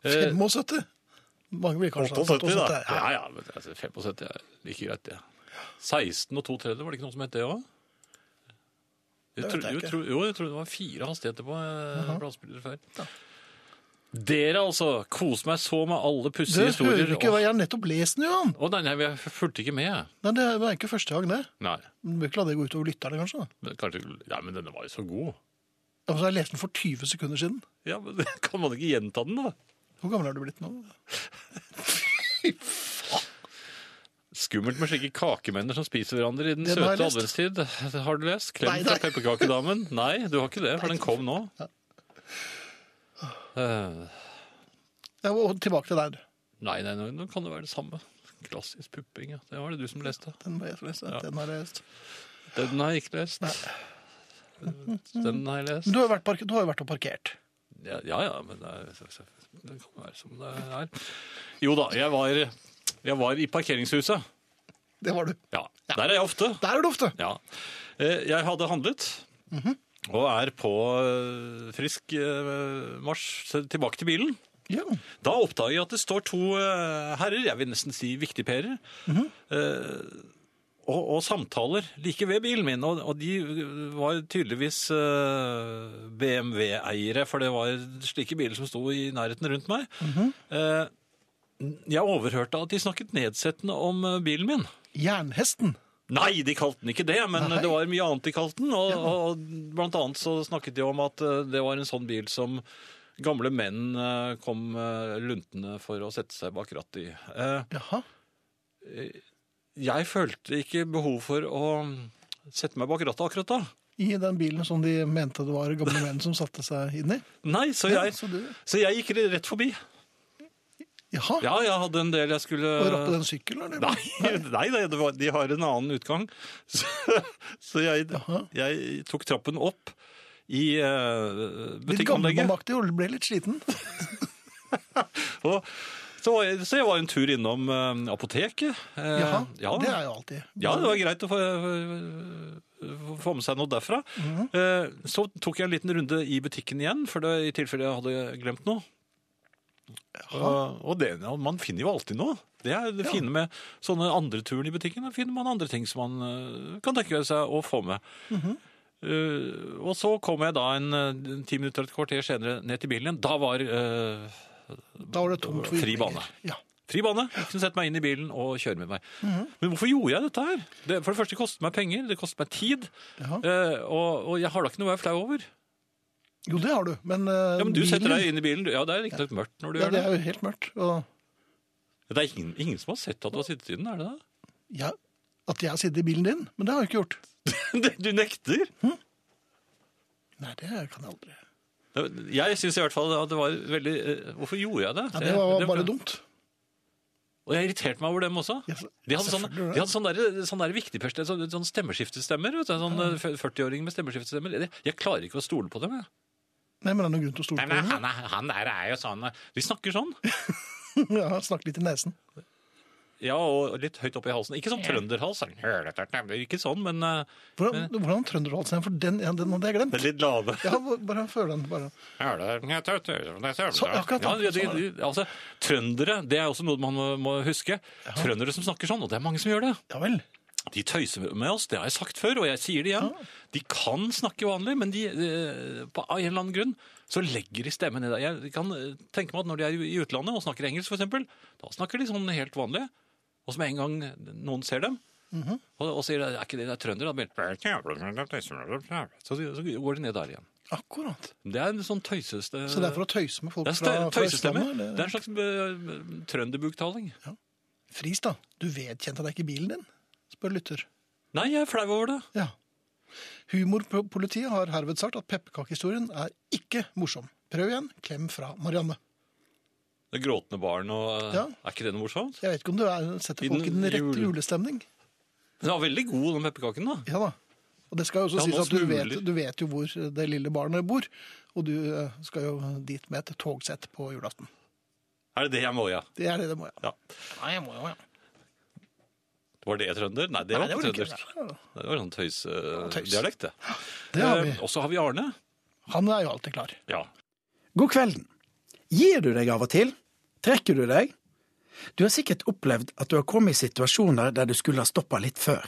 Eh, 75. Mange blir kanskje 78, 78, da. Ja, Ja. ja, men altså, 75 er like greit, det. 16 og 2 tredjedeler, var det ikke noe som het det òg? Det Jeg vet tror, jeg jo, ikke. tror, jo, jeg tror det var fire hastigheter på uh platespiller før. Dere, altså. Kos meg så med alle Du pussige historier. hører ikke hva Å jeg har nettopp lest den, Johan. å, nei, nei, jeg fulgte ikke med. Nei, det er ikke første gang, det. Nei, Du bør ikke la det gå utover lytterne, kanskje. da. men kanskje, nei, men denne var jo så god. Altså, jeg leste den for 20 sekunder siden. Ja, men Kan man ikke gjenta den, da? Hvor gammel er du blitt nå? Skummelt med slike kakemenner som spiser hverandre i den Den søte har jeg lest. adventstid. Har du lest? Nei, Klem nei. fra pepperkakedamen? Nei, du har ikke det, for den kom nå. Eh, Ja, og tilbake til deg. du. Nei, nei, nei, nå kan det være det samme. Klassisk pupping, ja. Det var det du som leste. Den må jeg få lese. Ja. Den har jeg lest. Den har jeg ikke lest. Den har jeg Men lest. du har jo vært, park- du har jo vært og parkert. Ja, ja, ja, men det, er, det kan være som det er. Jo da, jeg var, jeg var i parkeringshuset. Det var du. Ja, der er jeg ofte. Der er du ofte. Ja. Eh, Jeg hadde handlet, og er på eh, frisk eh, marsj tilbake til bilen. Ja. Da oppdager jeg at det står to eh, herrer, jeg vil nesten si viktigperer, eh, og, og samtaler like ved bilen min. Og, og de eh, var tydeligvis eh, BMW-eiere, for det var slike biler som sto i nærheten rundt meg. Eh, jeg overhørte at de snakket nedsettende om eh, bilen min. Jernhesten. Nei, de kalte den ikke det, men Nei. det var mye annet de kalte den. Og, og blant annet så snakket de om at eh, det var en sånn bil som gamle menn eh, kom eh, luntende for å sette seg bak rattet i. Eh, Jaha. Jeg følte ikke behov for å sette meg bak rattet akkurat da. I den bilen som de mente det var gamle menn som satte seg inn i. Nei, så Ja, jeg, så du- så jeg gikk rett forbi. Jaha. Ja, jeg hadde en del jeg skulle Og rappe den sykkelen, eller? Nei, nei, nei det var, de har en annen utgang. Så, så jeg, Jaha. jeg tok trappen opp i eh, Litt butikkanlegget. gammelmannsaktig og ble litt sliten. Og, så, var jeg, så jeg var en tur innom eh, apoteket. Eh, Jaha. ja. Det er jo alltid. ja, det var greit å få, eh, få med seg noe derfra. Mhm. Eh, Så tok jeg en liten runde i butikken igjen, for det, i tilfelle jeg hadde glemt noe. Og- og det, ja, man finner jo alltid noe. Det er det fine med sånne andre turen i butikken. Da finner man andre ting som man eh, kan tenke seg å få med. Mhm. Eh, og så kom jeg da en eh, ti minutter og et kvarter senere ned til bilen igjen. Da var eh, Da var det tomt for Fri ytringer. bane. Ja. Fri bane. Jeg kunne sette meg inn i bilen og kjøre med meg. Mhm. Men hvorfor gjorde jeg dette her? Det, for det første kostet meg penger, det kostet meg tid, Ja. eh, og, og jeg har da ikke noe å være flau over. Jo, det har du, men eh, Ja, men du setter deg inn i bilen. du- Ja, det er riktignok mørkt når du ja, gjør Det det. er jo helt mørkt. Og Det er ingen, ingen som har sett at du har sittet i den, er det det? ja, at jeg har sittet i bilen din, men det har jeg ikke gjort. Det- Du nekter? Nei, det kan jeg aldri. Jeg syns i hvert fall at det var veldig eh, Hvorfor gjorde jeg det? Ja, det var bare dumt. Og jeg irriterte meg over dem også. Ja, så- De hadde sånn, selvfølgelig gjorde de det. hadde sånn, der, sånn der viktig pers- sånn, sånn stemmeskiftestemmer. Vet du, sånn eh, 40-åring med stemmeskiftestemmer. Jeg- Jeg klarer ikke å stole på dem. Jeg. Nei, men det er noen grunn til å stole Nei, på men det. han, er- han der er jo sånn De snakker sånn. Ja, Snakk litt i nesen. Ja, og litt høyt opp i halsen. Ikke sånn trønderhals. sånn, Ikke sånn, men eh, Hvordan, hvordan trønderhals er den? For den, ja, den hadde jeg glemt. det er litt lave. Ja, bare føl den. bare. Så akkurat Ja, da. de, de, altså, trøndere det er også noe man må, må huske. Trøndere som snakker sånn, og det er mange som gjør det. Ja vel. De tøyser med oss, det har jeg sagt før, og jeg sier det igjen. De kan snakke vanlig, men de, eh, på, av en eller annen grunn så legger de stemmen i det. Jeg kan eh, tenke meg at når de er i i utlandet og snakker engelsk, for eksempel, da snakker de sånn helt vanlig. Og så med en gang noen ser dem, Mhm. og, og sier er ikke det, det er trønder, da blir det så, de- så går de ned der igjen. Akkurat. Det er en sånn tøyseste Så det er for å tøyse med folk det er fra, ste- fra tøysestemmer. Østlandet? Det er en slags eh, trønderbuktaling. Fris, da. Du vedkjente deg ikke bilen din? Spør lytter. Nei, jeg er flau over det. Ja. Humorpolitiet har herved sagt at pepperkakehistorien er ikke morsom. Prøv igjen. Klem fra Marianne. Det gråtende barn og eh, Ja. Er ikke det noe morsomt? Jeg vet ikke om du er, setter I folk i den den rette jul- julestemning. Den var veldig god, den pepperkaken, da. Ja da. Og det skal jo også Ja, nå sies at du vet, smuler. du vet jo hvor det lille barnet bor, og du eh, skal jo dit med et togsett på julaften. Er det det jeg må, ja? Det er det det må, ja. ja. Nei, jeg må jo, ja. Var det trønder? Nei, det var ikke trøndersk. Det var sånn tøys. tøysdialekt, det. Det har vi. Eh, Og så har vi Arne. Han er jo alltid klar. Ja. God kvelden. Gir du deg av og til? Trekker du deg? Du har sikkert opplevd at du har kommet i situasjoner der du skulle ha stoppa litt før.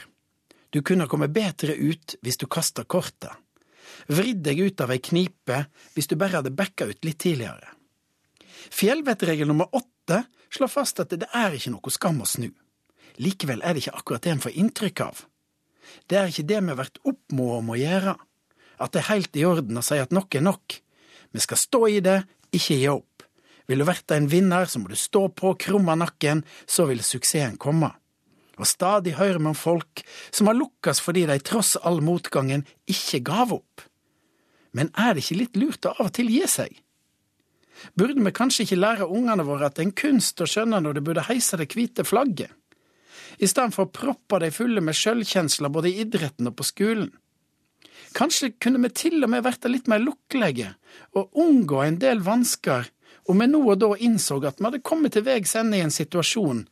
Du kunne ha kommet bedre ut hvis du kasta kortet. Vridd deg ut av ei knipe hvis du bare hadde backa ut litt tidligere. Fjellvettregel nummer åtte slår fast at det er ikke noe skam å snu. Likevel er det ikke akkurat det en får inntrykk av. Det er ikke det vi blir oppmodet om å gjøre. At det er helt i orden å si at nok er nok. Vi skal stå i det, ikke gi opp. Vil du verte en vinner, så må du stå på, krumme nakken, så vil suksessen komme. Og stadig hører vi om folk som har lukkes fordi de tross all motgangen ikke gav opp. Men er det ikke litt lurt å av og til gi seg? Burde vi kanskje ikke lære ungene våre at det er en kunst å skjønne når du burde heise det hvite flagget? i stedet for å proppe de fulle med sjølkjensler både i idretten og på skolen. Kanskje kunne vi til og med vært litt mer lukkelige og unngå en del vansker om vi nå og da innså at vi hadde kommet til veis ende i en situasjon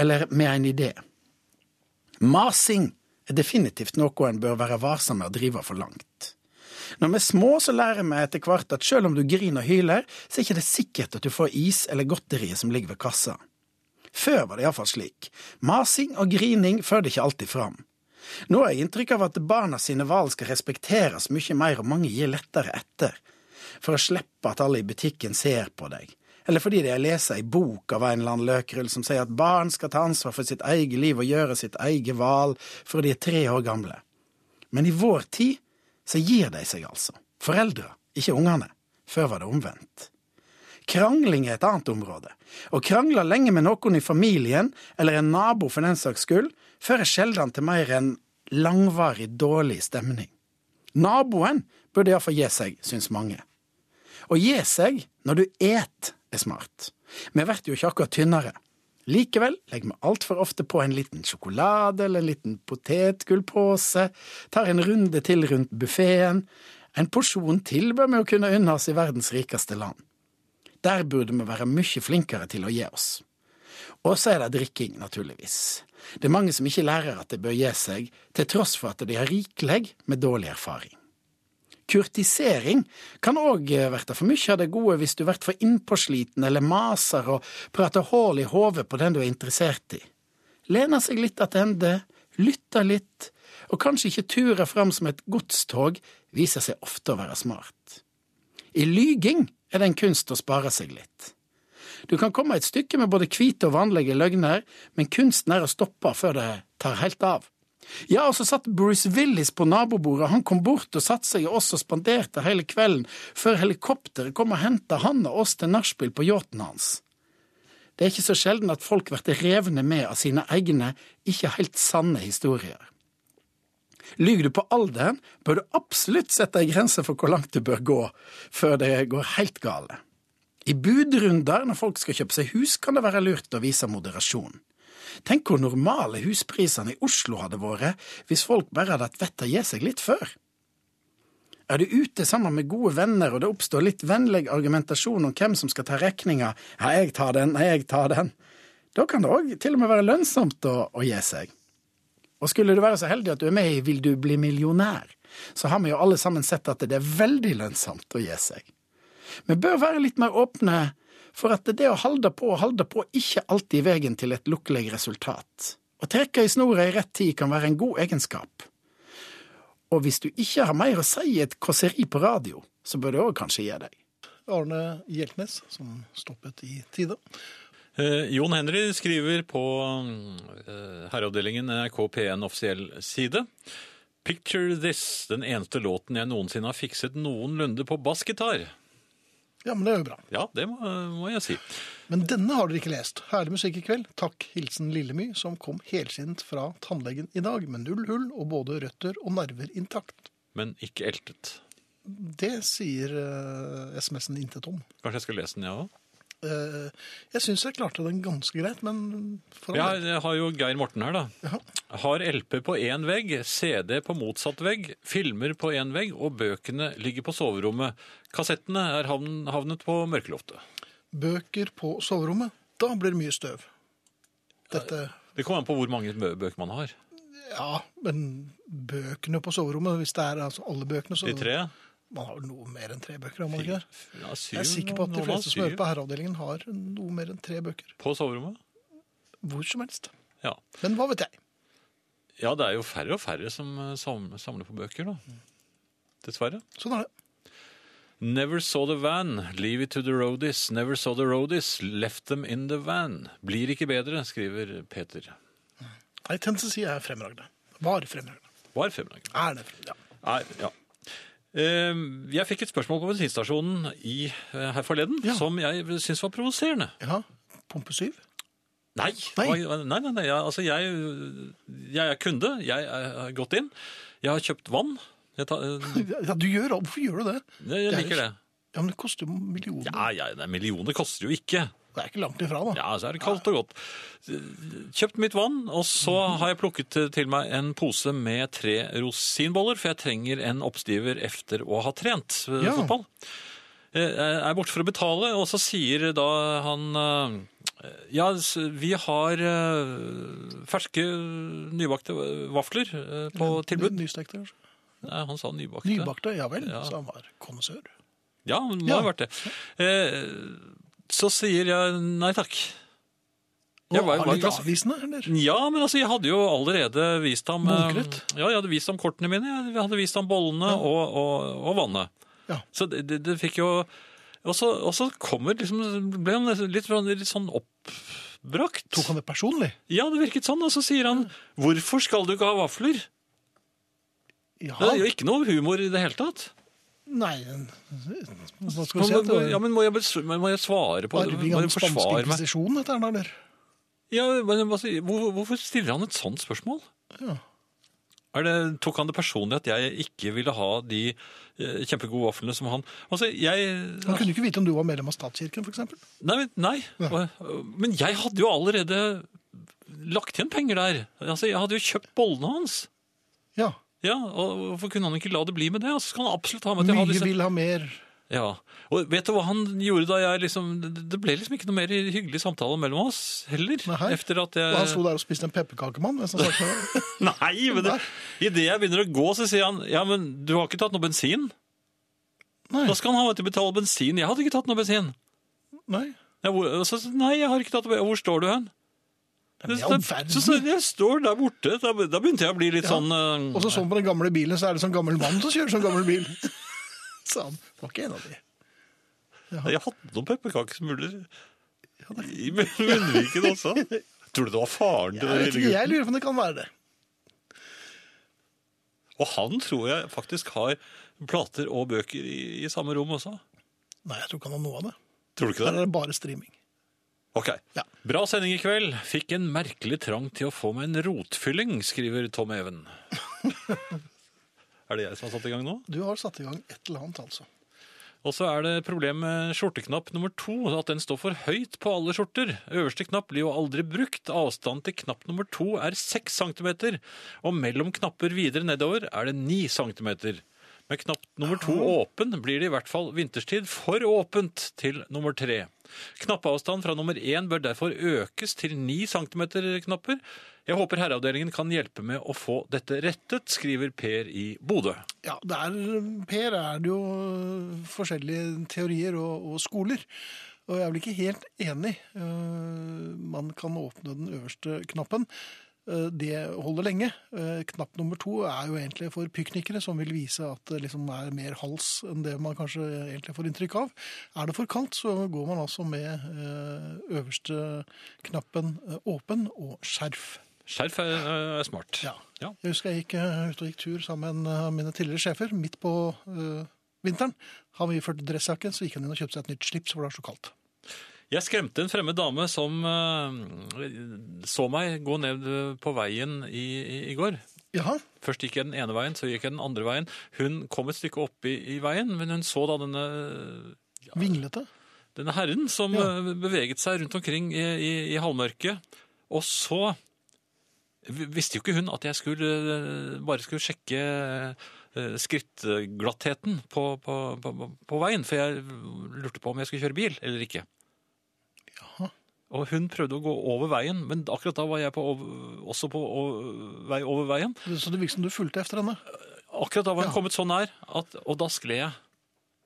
eller med en idé. Masing er definitivt noe en bør være varsom med å drive for langt. Når vi er små, så lærer vi etter hvert at selv om du griner og hyler, så er ikke det sikkert at du får is eller godteriet som ligger ved kassa. Før var det iallfall slik. Masing og grining førte ikke alltid fram. Nå har jeg inntrykk av at barna sine valg skal respekteres mye mer, og mange gir lettere etter. For å slippe at alle i butikken ser på deg. Eller fordi de har lest ei bok av en eller annen løkrull som sier at barn skal ta ansvar for sitt eget liv og gjøre sitt eget valg fra de er tre år gamle. Men i vår tid så gir de seg altså. Foreldre, ikke ungene. Før var det omvendt. Krangling er et annet område. Å krangle lenge med noen i familien, eller en nabo for den saks skyld, fører sjelden til mer enn langvarig dårlig stemning. Naboen burde iallfall gi seg, syns mange. Å gi seg når du et, er smart. Vi blir jo ikke akkurat tynnere. Likevel legger vi altfor ofte på en liten sjokolade eller en liten potetgullpose, tar en runde til rundt buffeen. En porsjon til bør vi jo kunne unne oss i verdens rikeste land. Der burde vi være mye flinkere til å gi oss. Og så er det drikking, naturligvis. Det er mange som ikke lærer at det bør gi seg, til tross for at de har rikelig med dårlig erfaring. Kurtisering kan òg verte for mye av det gode hvis du vert for innpåsliten eller maser og prater hull i hodet på den du er interessert i. Lene seg litt attende, lytte litt, og kanskje ikke ture fram som et godstog viser seg ofte å være smart. I lyging er det en kunst å spare seg litt. Du kan komme et stykke med både hvite og vanlige løgner, men kunsten er å stoppe før det tar helt av. Ja, og så satt Bruce Willis på nabobordet, han kom bort og satte seg i oss og spanderte hele kvelden, før helikopteret kom og henta han og oss til nachspiel på yachten hans. Det er ikke så sjelden at folk blir revne med av sine egne, ikke helt sanne historier. Lyver du på alderen, bør du absolutt sette ei grense for hvor langt du bør gå, før det går helt gale. I budrunder når folk skal kjøpe seg hus, kan det være lurt å vise moderasjon. Tenk hvor normale husprisene i Oslo hadde vært hvis folk bare hadde hatt vett til å gi seg litt før. Er du ute sammen med gode venner og det oppstår litt vennlig argumentasjon om hvem som skal ta regninga, ja, jeg tar den, ja, jeg tar den, da kan det òg til og med være lønnsomt å, å gi seg. Og skulle du være så heldig at du er med i Vil du bli millionær, så har vi jo alle sammen sett at det er veldig lønnsomt å gi seg. Vi bør være litt mer åpne for at det å halde på og halde på ikke alltid er veien til et lukkelig resultat. Å trekke i snora i rett tid kan være en god egenskap. Og hvis du ikke har mer å si i et kåseri på radio, så bør du òg kanskje gi deg. Arne Hjeltnes, som stoppet i tide. Eh, Jon Henry skriver på eh, herreavdelingen NRK P1 offisiell side. Picture This, den eneste låten jeg noensinne har fikset noenlunde på bassgitar. Ja, men det er jo bra. Ja, det må, må jeg si. Men denne har dere ikke lest. Herlig musikk i kveld. Takk hilsen Lillemy, som kom helsint fra tannlegen i dag med null hull og både røtter og nerver intakt. Men ikke eltet. Det sier eh, SMS-en intet om. Kanskje jeg skal lese den, jeg òg? Eh, jeg syns jeg klarte den ganske greit, men for Ja, all del. jeg har jo Geir Morten her, da. Jaha. Har LP på én vegg, CD på motsatt vegg, filmer på én vegg, og bøkene ligger på soverommet. Kassettene er havn- havnet på mørkeloftet. Bøker på soverommet. Da blir det mye støv. Dette Det kommer an på hvor mange bø- bøker man har. Ja, men bøkene på soverommet, hvis det er altså alle bøkene, så De tre? Man har vel noe mer enn tre bøker, har man ikke det? Ja, syv, Jeg er sikker på at de noen har fleste som hører syv. på herreavdelingen, har noe mer enn tre bøker. På soverommet? Hvor som helst. Ja. Men hva vet jeg? ja, det er jo færre og færre som eh, sam- samler på bøker, da. Dessverre. Sånn er det. Never saw the van, leave it to the roadies. Never saw the roadies, left them in the van. Blir ikke bedre, skriver Peter. Nei, Tennessee er fremragende. Var fremragende. Var femdagen. Er det fremragende? Ja. Nei, ja. Eh, Jeg fikk et spørsmål på bensinstasjonen i, eh, her forleden Ja. som jeg syntes var provoserende. Jaha. Pumpe syv? Nei. Nei. Nei, nei, nei, jeg- altså jeg, jeg er kunde. Jeg har gått inn. Jeg har kjøpt vann. Jeg, tar, eh, Ja, du gjør Hvorfor gjør du det? jeg Det er liker ikke- det. Ja, men det koster jo millioner. Ja, ja, nei, millioner koster jo ikke. Det er ikke langt ifra, da. Ja, så er det kaldt og godt. Kjøpt mitt vann, og så har jeg plukket til meg en pose med tre rosinboller, for jeg trenger en oppstiver efter å ha trent eh, Ja. fotball. Eh, Jeg er borte for å betale, og så sier da han eh, Ja, s- vi har eh, ferske nybakte vafler eh, på tilbud. Nystekte, kanskje. Nei, han sa nybakte. Nybakte, ja vel. Så han var kondisør. Ja, han må Ja. ha vært det. Eh, Så sier jeg nei takk. Og var- var var litt ganske- avvisende, eller? Ja, men altså, jeg hadde jo allerede vist ham eh, Mokret? Ja, jeg hadde vist ham kortene mine, jeg hadde vist ham bollene og, og, og vannet. Ja. Så det, det, det fikk jo Og så, og så kommer liksom Ble han nesten litt, sånn- litt sånn oppbrakt. Tok han det personlig? Ja, det virket sånn. Og så sier han 'Hvorfor skal du ikke ha vafler?' Ja. Det er jo ikke noe humor i det hele tatt. Nei, hva skal vi Men, si? at det var- ja, men må jeg, bes- men må jeg svare på Var det? vi Må om jeg forsvare spansk meg? inkvisisjon, dette her, da, eller? Ja, men jeg må si, hvor, hvorfor stiller han et sånt spørsmål? Ja. Er det, tok han det personlig at jeg ikke ville ha de eh, kjempegode vaflene som han Altså, jeg Han kunne ikke vite om du var medlem av statskirken, f.eks. Nei, men, nei. men jeg hadde jo allerede lagt igjen penger der. Altså, jeg hadde jo kjøpt bollene hans. Ja. Ja, og Hvorfor kunne han ikke la det bli med det? Altså, skal han absolutt ha med at jeg Mye har disse vil ha mer. Ja, og vet du hva han gjorde da jeg liksom, det det ble liksom ikke noe mer hyggelig samtale mellom oss heller. Nei. Efter at jeg... Og han sto der og spiste en pepperkakemann. mens han snakket med deg. Nei, men det, i det jeg begynner å gå, så sier han, ja, men du har ikke tatt noe bensin. Nei, Da skal han ha meg til å betale bensin. Jeg hadde ikke tatt noe bensin. nei. Jeg, hvor- og så, nei, jeg har ikke tatt noe bensin. Hvor står du hen? Men i all verden. Så, så jeg står der borte. Da, da begynte jeg å bli litt sånn... eh, Og så sånn på den gamle bilen, så er det sånn gammel mann som kjører sånn gammel bil. Sa han. Det var ikke en av de. Jeg hadde noen pepperkakesmuler i munnviken også. Tror du det var faren til Jeg, den vet lille ikke, gutten? jeg lurer på om det kan være det. Og han tror jeg faktisk har plater og bøker i, i samme rom også. Nei, jeg tror ikke han har noe av det. Tror du ikke Der det? er det bare streaming. Ok. Ja. Bra sending i kveld. Fikk en merkelig trang til å få meg en rotfylling, skriver Tom Even. er det jeg som har satt i gang nå? Du har satt i gang et eller annet, altså. Og så er det problem med skjorteknapp nummer to, at den står for høyt på alle skjorter. Øverste knapp blir jo aldri brukt. Avstand til knapp nummer to er 6 cm, og mellom knapper videre nedover er det 9 cm. Med knapp nummer to åpen blir det i hvert fall vinterstid for åpent til nummer tre. Knappeavstand fra nummer én bør derfor økes til 9 cm knapper. Jeg håper herreavdelingen kan hjelpe med å få dette rettet, skriver Per i Bodø. Ja, det er, Per er det jo øh, forskjellige teorier og, og skoler. Og jeg er vel ikke helt enig. Øh, Man kan åpne den øverste knappen. Øh, Det holder lenge. Øh, Knapp nummer to er jo egentlig for pyknikere, som vil vise at det liksom er mer hals enn det man kanskje egentlig får inntrykk av. Er det for kaldt, så går man altså med øh, øverste knappen øh, åpen og skjerf. Skjerf er, er smart. Ja. ja. Jeg husker jeg gikk eh, ut og gikk tur sammen med en av mine tidligere sjefer midt på eh, vinteren. Han iført dressjakke, så gikk han inn og kjøpte seg et nytt slips, for det var så kaldt. Jeg skremte en fremmed dame som eh, så meg gå ned på veien i, i, i går. Jaha, Først gikk jeg den ene veien, så gikk jeg den andre veien. Hun kom et stykke opp i, i veien, men hun så da denne, vinglete. denne herren som Ja. eh, beveget seg rundt omkring i, i, i halvmørket. Og så vi- visste jo ikke hun at jeg skulle, eh, bare skulle sjekke eh, skrittglattheten på, på, på, på veien, for jeg lurte på om jeg skulle kjøre bil eller ikke. Jaha. Og hun prøvde å gå over veien, men akkurat da var jeg på over, også på o- vei over veien. Så det virket som du fulgte etter henne. Akkurat da var hun Ja. kommet så nær, at, og da skled jeg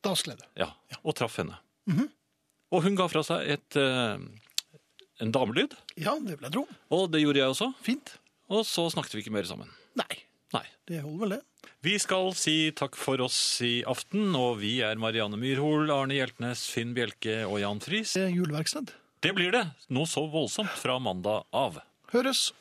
Da skled det. ja, og traff henne. Og hun ga fra seg et, eh, en damelyd, Ja, det vil jeg tro. og det gjorde jeg også. Fint. Og så snakket vi ikke mer sammen. Nei, Nei. det holder vel det. Vi skal si takk for oss i aften, og vi er Marianne Myrhol, Arne Hjeltnes, Finn Bjelke og Jan Friis. Det er Juleverksted. Det blir det, noe så voldsomt fra mandag av. Høres.